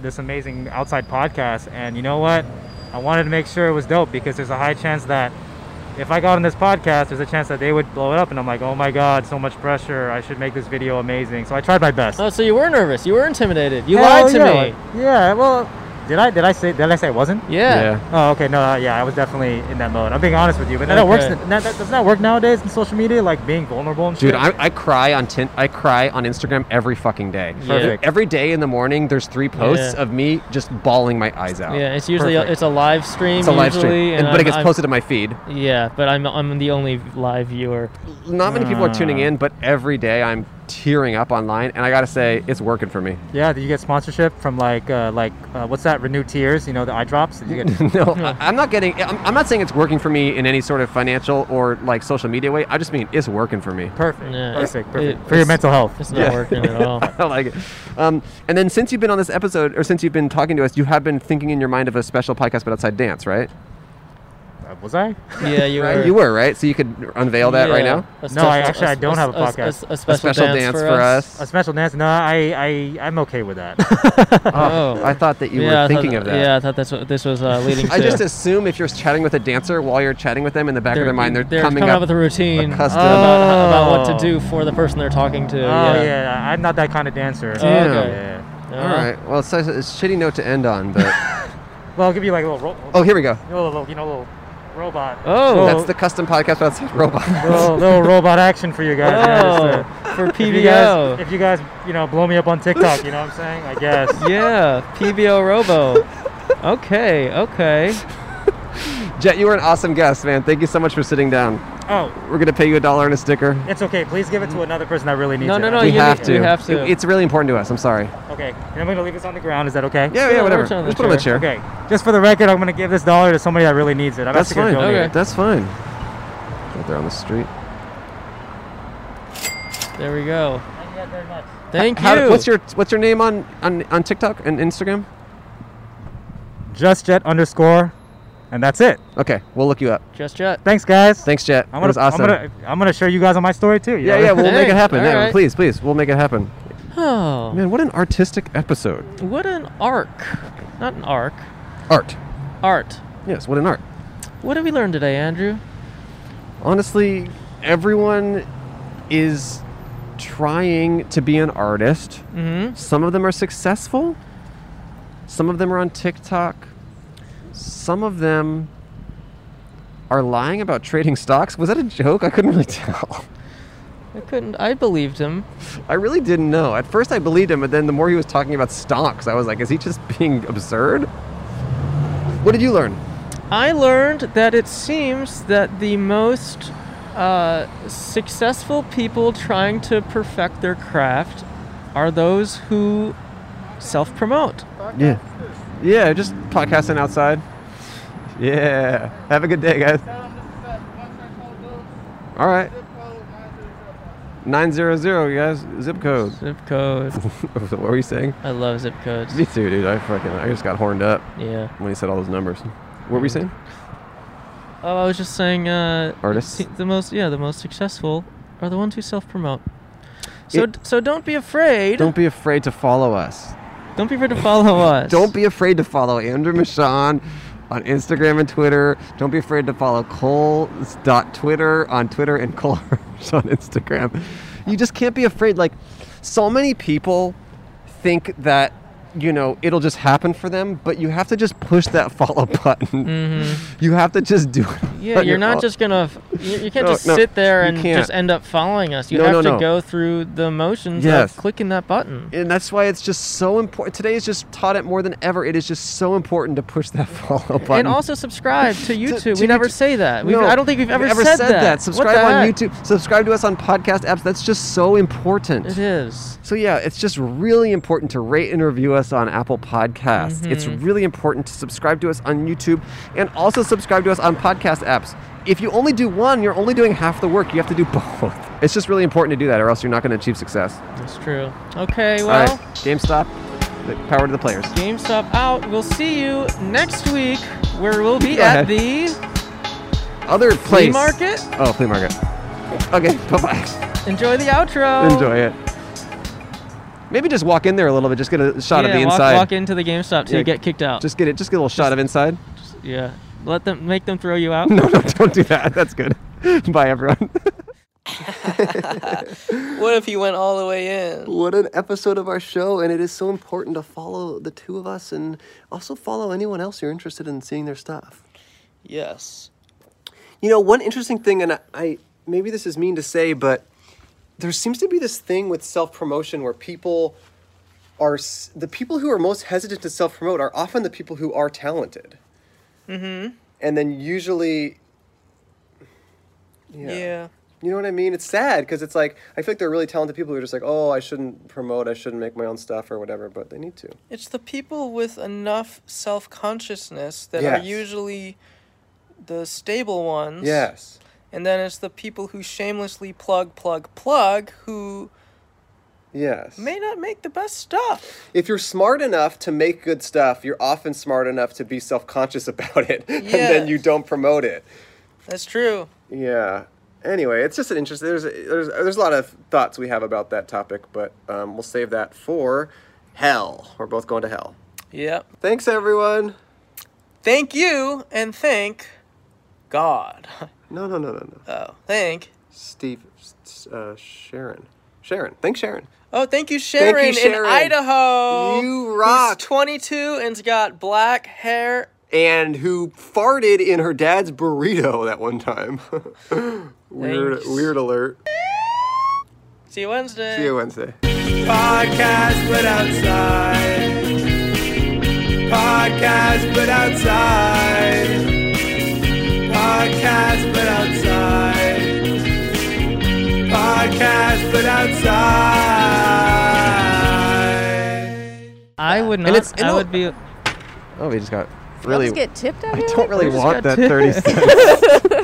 [SPEAKER 8] this amazing outside podcast, and you know what? I wanted to make sure it was dope because there's a high chance that if I got on this podcast, there's a chance that they would blow it up, and I'm like, oh my god, so much pressure. I should make this video amazing. So I tried my best.
[SPEAKER 4] Oh, so you were nervous. You were intimidated. You
[SPEAKER 8] Hell
[SPEAKER 4] lied to
[SPEAKER 8] yeah.
[SPEAKER 4] me.
[SPEAKER 8] Yeah. Well, did I did I say did I say I wasn't?
[SPEAKER 4] Yeah.
[SPEAKER 8] Oh, okay. No, uh, yeah, I was definitely in that mode. I'm being honest with you, but that
[SPEAKER 4] Okay.
[SPEAKER 8] works. That, that does not work nowadays in social media, like being vulnerable and shit.
[SPEAKER 2] Dude, I, I cry on tin- I cry on Instagram every fucking day.
[SPEAKER 4] Perfect.
[SPEAKER 2] Every day in the morning, there's three posts
[SPEAKER 4] Yeah.
[SPEAKER 2] of me just bawling my eyes out.
[SPEAKER 4] Yeah, it's usually a,
[SPEAKER 8] Perfect.
[SPEAKER 4] it's a live stream.
[SPEAKER 2] It's a live
[SPEAKER 4] usually,
[SPEAKER 2] stream,
[SPEAKER 4] and
[SPEAKER 2] and, but
[SPEAKER 4] I'm-
[SPEAKER 2] it gets
[SPEAKER 4] I'm-
[SPEAKER 2] posted to my feed.
[SPEAKER 4] Yeah, but I'm I'm the only live viewer.
[SPEAKER 2] Not many people are tuning
[SPEAKER 4] Ah.
[SPEAKER 2] in, but every day I'm tearing up online, and I gotta say, it's working for me.
[SPEAKER 8] yeah, do you get sponsorship from like uh, like uh, what's that? Renew tears, you know, the eye drops. Did you get?
[SPEAKER 2] No, I, I'm not getting. I'm, I'm not saying it's working for me in any sort of financial or like social media way. I just mean it's working for me.
[SPEAKER 8] Perfect.
[SPEAKER 4] Yeah, it's-
[SPEAKER 8] perfect. Perfect.
[SPEAKER 4] it-
[SPEAKER 8] For your
[SPEAKER 4] it's-
[SPEAKER 8] mental health.
[SPEAKER 4] It's not working at all.
[SPEAKER 2] I like it. Um, and then since you've been on this episode, or since you've been talking to us, you have been thinking in your mind of a special podcast, but outside dance, right?
[SPEAKER 8] Uh, was I?
[SPEAKER 4] Yeah, you
[SPEAKER 2] Right.
[SPEAKER 4] were.
[SPEAKER 2] You were right. So you could unveil that right
[SPEAKER 4] Yeah,
[SPEAKER 2] now.
[SPEAKER 4] a
[SPEAKER 8] No, I
[SPEAKER 4] special-
[SPEAKER 8] actually- I don't have a podcast.
[SPEAKER 4] A, special, dance, for, us.
[SPEAKER 8] A special dance? No, I I I'm okay with that.
[SPEAKER 4] Oh,
[SPEAKER 2] I thought that you
[SPEAKER 4] Yeah, I
[SPEAKER 2] were
[SPEAKER 4] thought
[SPEAKER 2] thinking of that.
[SPEAKER 4] Yeah, I thought that's what this was uh, leading to.
[SPEAKER 2] I just assume if you're chatting with a dancer while you're chatting with them in the back
[SPEAKER 4] they're,
[SPEAKER 2] of their mind, they're, coming,
[SPEAKER 4] up,
[SPEAKER 2] up
[SPEAKER 4] with a routine
[SPEAKER 2] custom-
[SPEAKER 4] about, about what to
[SPEAKER 8] Oh.
[SPEAKER 4] do for the person they're talking to.
[SPEAKER 8] oh yeah. I'm not that kind of dancer.
[SPEAKER 4] Damn.
[SPEAKER 2] okay.
[SPEAKER 8] Yeah.
[SPEAKER 4] Uh-huh.
[SPEAKER 2] All right. Well, it's, such a- it's a shitty note to end on, but
[SPEAKER 8] Well, I'll give you like a little, ro-
[SPEAKER 2] oh, here we go.
[SPEAKER 8] you know, a little, you know, a little robot.
[SPEAKER 4] Oh.
[SPEAKER 2] That's the custom podcast about outside robots.
[SPEAKER 8] little, little robot action for you guys. man, just, uh,
[SPEAKER 4] Oh, for
[SPEAKER 8] If you guys,
[SPEAKER 4] PBO.
[SPEAKER 8] if you guys, you know, blow me up on TikTok, you know what I'm saying? I guess.
[SPEAKER 4] Yeah, PBO Robo. Okay, okay.
[SPEAKER 2] Jet, you were an awesome guest, man. Thank you so much for sitting down.
[SPEAKER 8] Oh,
[SPEAKER 2] We're gonna pay you a dollar and a sticker.
[SPEAKER 8] it's okay. Please give it to another person that really needs
[SPEAKER 4] No,
[SPEAKER 8] it.
[SPEAKER 4] no, no,
[SPEAKER 2] we
[SPEAKER 4] Oh, you
[SPEAKER 2] have
[SPEAKER 4] need-
[SPEAKER 2] to.
[SPEAKER 4] we have to.
[SPEAKER 2] It- it's really important to us. I'm sorry.
[SPEAKER 8] Okay, and I'm gonna leave this on the ground. Is that okay?
[SPEAKER 2] Yeah,
[SPEAKER 4] Yeah,
[SPEAKER 2] yeah, whatever.
[SPEAKER 4] we're chilling on
[SPEAKER 2] Just
[SPEAKER 4] the
[SPEAKER 2] put it on the chair.
[SPEAKER 4] chair.
[SPEAKER 8] Okay. Just for the record, I'm gonna give this dollar to somebody that really needs it. I'm
[SPEAKER 2] That's
[SPEAKER 8] actually
[SPEAKER 2] fine.
[SPEAKER 8] gonna donate
[SPEAKER 4] Okay.
[SPEAKER 8] it.
[SPEAKER 2] That's fine. Right there on the street.
[SPEAKER 4] There we go.
[SPEAKER 8] Thank you guys very much.
[SPEAKER 4] Thank
[SPEAKER 2] How-
[SPEAKER 4] you.
[SPEAKER 2] what's your What's your name on, on on TikTok and Instagram?
[SPEAKER 8] Just Jet underscore, and that's it.
[SPEAKER 2] Okay, we'll look you up.
[SPEAKER 4] Just Jet.
[SPEAKER 8] Thanks, guys.
[SPEAKER 2] Thanks, Jet.
[SPEAKER 8] I'm
[SPEAKER 2] that
[SPEAKER 8] gonna,
[SPEAKER 2] was awesome.
[SPEAKER 8] I'm gonna, I'm gonna show you guys on my story too. you
[SPEAKER 2] yeah,
[SPEAKER 8] know?
[SPEAKER 2] yeah, we'll make
[SPEAKER 4] Thanks.
[SPEAKER 2] it happen.
[SPEAKER 4] All
[SPEAKER 2] Yeah,
[SPEAKER 4] right.
[SPEAKER 2] Please, please, we'll make it happen.
[SPEAKER 4] Oh,
[SPEAKER 2] Man, what an artistic episode.
[SPEAKER 4] what an arc. Not an arc.
[SPEAKER 2] Art.
[SPEAKER 4] Art.
[SPEAKER 2] Yes, what an art.
[SPEAKER 4] What did we learn today, Andrew?
[SPEAKER 2] honestly, everyone is trying to be an artist.
[SPEAKER 4] Mm-hmm.
[SPEAKER 2] Some of them are successful. Some of them are on TikTok. Some of them are lying about trading stocks. Was that a joke? I couldn't really tell.
[SPEAKER 4] I couldn't. I believed him.
[SPEAKER 2] I really didn't know. At first, I believed him, but then the more he was talking about stocks, I was like, is he just being absurd? What did you learn?
[SPEAKER 4] I learned that it seems that the most uh, successful people trying to perfect their craft are those who self promote.
[SPEAKER 2] Yeah. Yeah, just podcasting outside. Yeah. Have a good day, guys. All right. 900, you guys. Zip code.
[SPEAKER 4] Zip code.
[SPEAKER 2] what were you saying?
[SPEAKER 4] I love zip codes.
[SPEAKER 2] Me too, dude. I fucking, I just got horned up
[SPEAKER 4] Yeah.
[SPEAKER 2] when he said all those numbers. What were you saying?
[SPEAKER 4] Oh, I was just saying. Uh, it
[SPEAKER 2] Artists?
[SPEAKER 4] se- The most, yeah, the most successful are the ones who self-promote. So,
[SPEAKER 2] It-
[SPEAKER 4] d- so don't be afraid.
[SPEAKER 2] Don't be afraid to follow us.
[SPEAKER 4] Don't be afraid to follow us.
[SPEAKER 2] Don't be afraid to follow Andrew Michon on Instagram and Twitter. Don't be afraid to follow Cole.twitter on Twitter and Cole Hirsch on Instagram. You just can't be afraid. Like, so many people think that, you know, it'll just happen for them, but you have to just push that follow button. You have to just do it.
[SPEAKER 4] Mm-hmm. Yeah,
[SPEAKER 2] on
[SPEAKER 4] you're
[SPEAKER 2] your
[SPEAKER 4] not
[SPEAKER 2] own.
[SPEAKER 4] just gonna. F- you, you can't
[SPEAKER 2] No,
[SPEAKER 4] just
[SPEAKER 2] no,
[SPEAKER 4] sit there
[SPEAKER 2] you
[SPEAKER 4] and
[SPEAKER 2] can't.
[SPEAKER 4] just end up following us. You
[SPEAKER 2] No,
[SPEAKER 4] have
[SPEAKER 2] no,
[SPEAKER 4] to
[SPEAKER 2] no.
[SPEAKER 4] go through the motions
[SPEAKER 2] Yes.
[SPEAKER 4] of clicking that button.
[SPEAKER 2] And that's why it's just so important. Today is just taught it more than ever. It is just so important to push that follow button.
[SPEAKER 4] And also subscribe to YouTube.
[SPEAKER 2] to
[SPEAKER 4] we never
[SPEAKER 2] YouTube.
[SPEAKER 4] say that. We've,
[SPEAKER 2] No,
[SPEAKER 4] I don't think we've ever,
[SPEAKER 2] said, that.
[SPEAKER 4] What
[SPEAKER 2] Subscribe
[SPEAKER 4] the
[SPEAKER 2] on
[SPEAKER 4] heck?
[SPEAKER 2] YouTube. Subscribe to us on podcast apps. That's just so important.
[SPEAKER 4] It is.
[SPEAKER 2] So yeah, it's just really important to rate and review us on Apple Podcasts. It's
[SPEAKER 4] Mm-hmm.
[SPEAKER 2] really important to subscribe to us on YouTube and also subscribe to us on podcast apps. If you only do one, you're only doing half the work. You have to do both. It's just really important to do that, or else you're not going to achieve success.
[SPEAKER 4] That's true. Okay,
[SPEAKER 2] All
[SPEAKER 4] well,
[SPEAKER 2] right, GameStop, the power to the players.
[SPEAKER 4] GameStop out. We'll see you next week, where we'll be
[SPEAKER 2] Go ahead.
[SPEAKER 4] at the
[SPEAKER 2] Other
[SPEAKER 4] flea
[SPEAKER 2] place.
[SPEAKER 4] market.
[SPEAKER 2] Oh, flea market. Okay, bye bye.
[SPEAKER 4] Enjoy the outro.
[SPEAKER 2] Enjoy it. Maybe just walk in there a little bit. Just get a shot
[SPEAKER 4] yeah,
[SPEAKER 2] of the
[SPEAKER 4] walk,
[SPEAKER 2] inside.
[SPEAKER 4] Walk into the GameStop till
[SPEAKER 2] Yeah.
[SPEAKER 4] you get kicked out.
[SPEAKER 2] Just get it. Just get a little shot of inside.
[SPEAKER 4] yeah. Let them make them throw you out.
[SPEAKER 2] No, no, don't do that. That's good. Bye, everyone.
[SPEAKER 1] What if he went all the way in?
[SPEAKER 2] what an episode of our show, and it is so important to follow the two of us, and also follow anyone else you're interested in seeing their stuff.
[SPEAKER 1] Yes.
[SPEAKER 2] You know, one interesting thing, and I, I maybe this is mean to say, but there seems to be this thing with self promotion where people are s- the people who are most hesitant to self promote are often the people who are talented. Mm-hmm. And then usually,
[SPEAKER 1] Yeah.
[SPEAKER 2] you know what I mean? It's sad because it's like I feel like they're really talented people who are just like, oh, I shouldn't promote, I shouldn't make my own stuff or whatever, but they need to.
[SPEAKER 1] It's the people with enough self consciousness that
[SPEAKER 2] Yes.
[SPEAKER 1] are usually the stable ones.
[SPEAKER 2] Yes.
[SPEAKER 1] And then it's the people who shamelessly plug, plug, plug who
[SPEAKER 2] Yes.
[SPEAKER 1] may not make the best stuff.
[SPEAKER 2] if you're smart enough to make good stuff, you're often smart enough to be self conscious about it, and then
[SPEAKER 1] Yes.
[SPEAKER 2] you don't promote it.
[SPEAKER 1] That's true.
[SPEAKER 2] Yeah. Anyway, it's just an interesting. There's there's there's a lot of thoughts we have about that topic, but um, we'll save that for hell. We're both going to hell.
[SPEAKER 1] Yep.
[SPEAKER 2] Thanks, everyone.
[SPEAKER 1] Thank you and thank God.
[SPEAKER 2] No, no, no, no, no.
[SPEAKER 1] Oh, thank.
[SPEAKER 2] Steve, s- uh, Sharon, Sharon. Thanks, Sharon.
[SPEAKER 1] Oh, thank you, Sharon,
[SPEAKER 2] Sharon.
[SPEAKER 1] in Idaho.
[SPEAKER 2] You
[SPEAKER 1] who's
[SPEAKER 2] rock.
[SPEAKER 1] 22 and's got black hair.
[SPEAKER 2] And who farted in her dad's burrito that one time? weird,
[SPEAKER 1] Thanks.
[SPEAKER 2] weird alert.
[SPEAKER 1] See you Wednesday.
[SPEAKER 2] See you Wednesday.
[SPEAKER 3] Podcast but outside. Podcast but outside. Podcast but outside. Podcast but outside.
[SPEAKER 4] I would not.
[SPEAKER 2] it's- and
[SPEAKER 4] I
[SPEAKER 2] no-
[SPEAKER 4] would be.
[SPEAKER 2] Oh, we just got
[SPEAKER 5] Just get tipped out
[SPEAKER 2] I
[SPEAKER 5] here?
[SPEAKER 2] don't really
[SPEAKER 4] just
[SPEAKER 2] want
[SPEAKER 4] got
[SPEAKER 2] that
[SPEAKER 4] two.
[SPEAKER 2] 30 cents.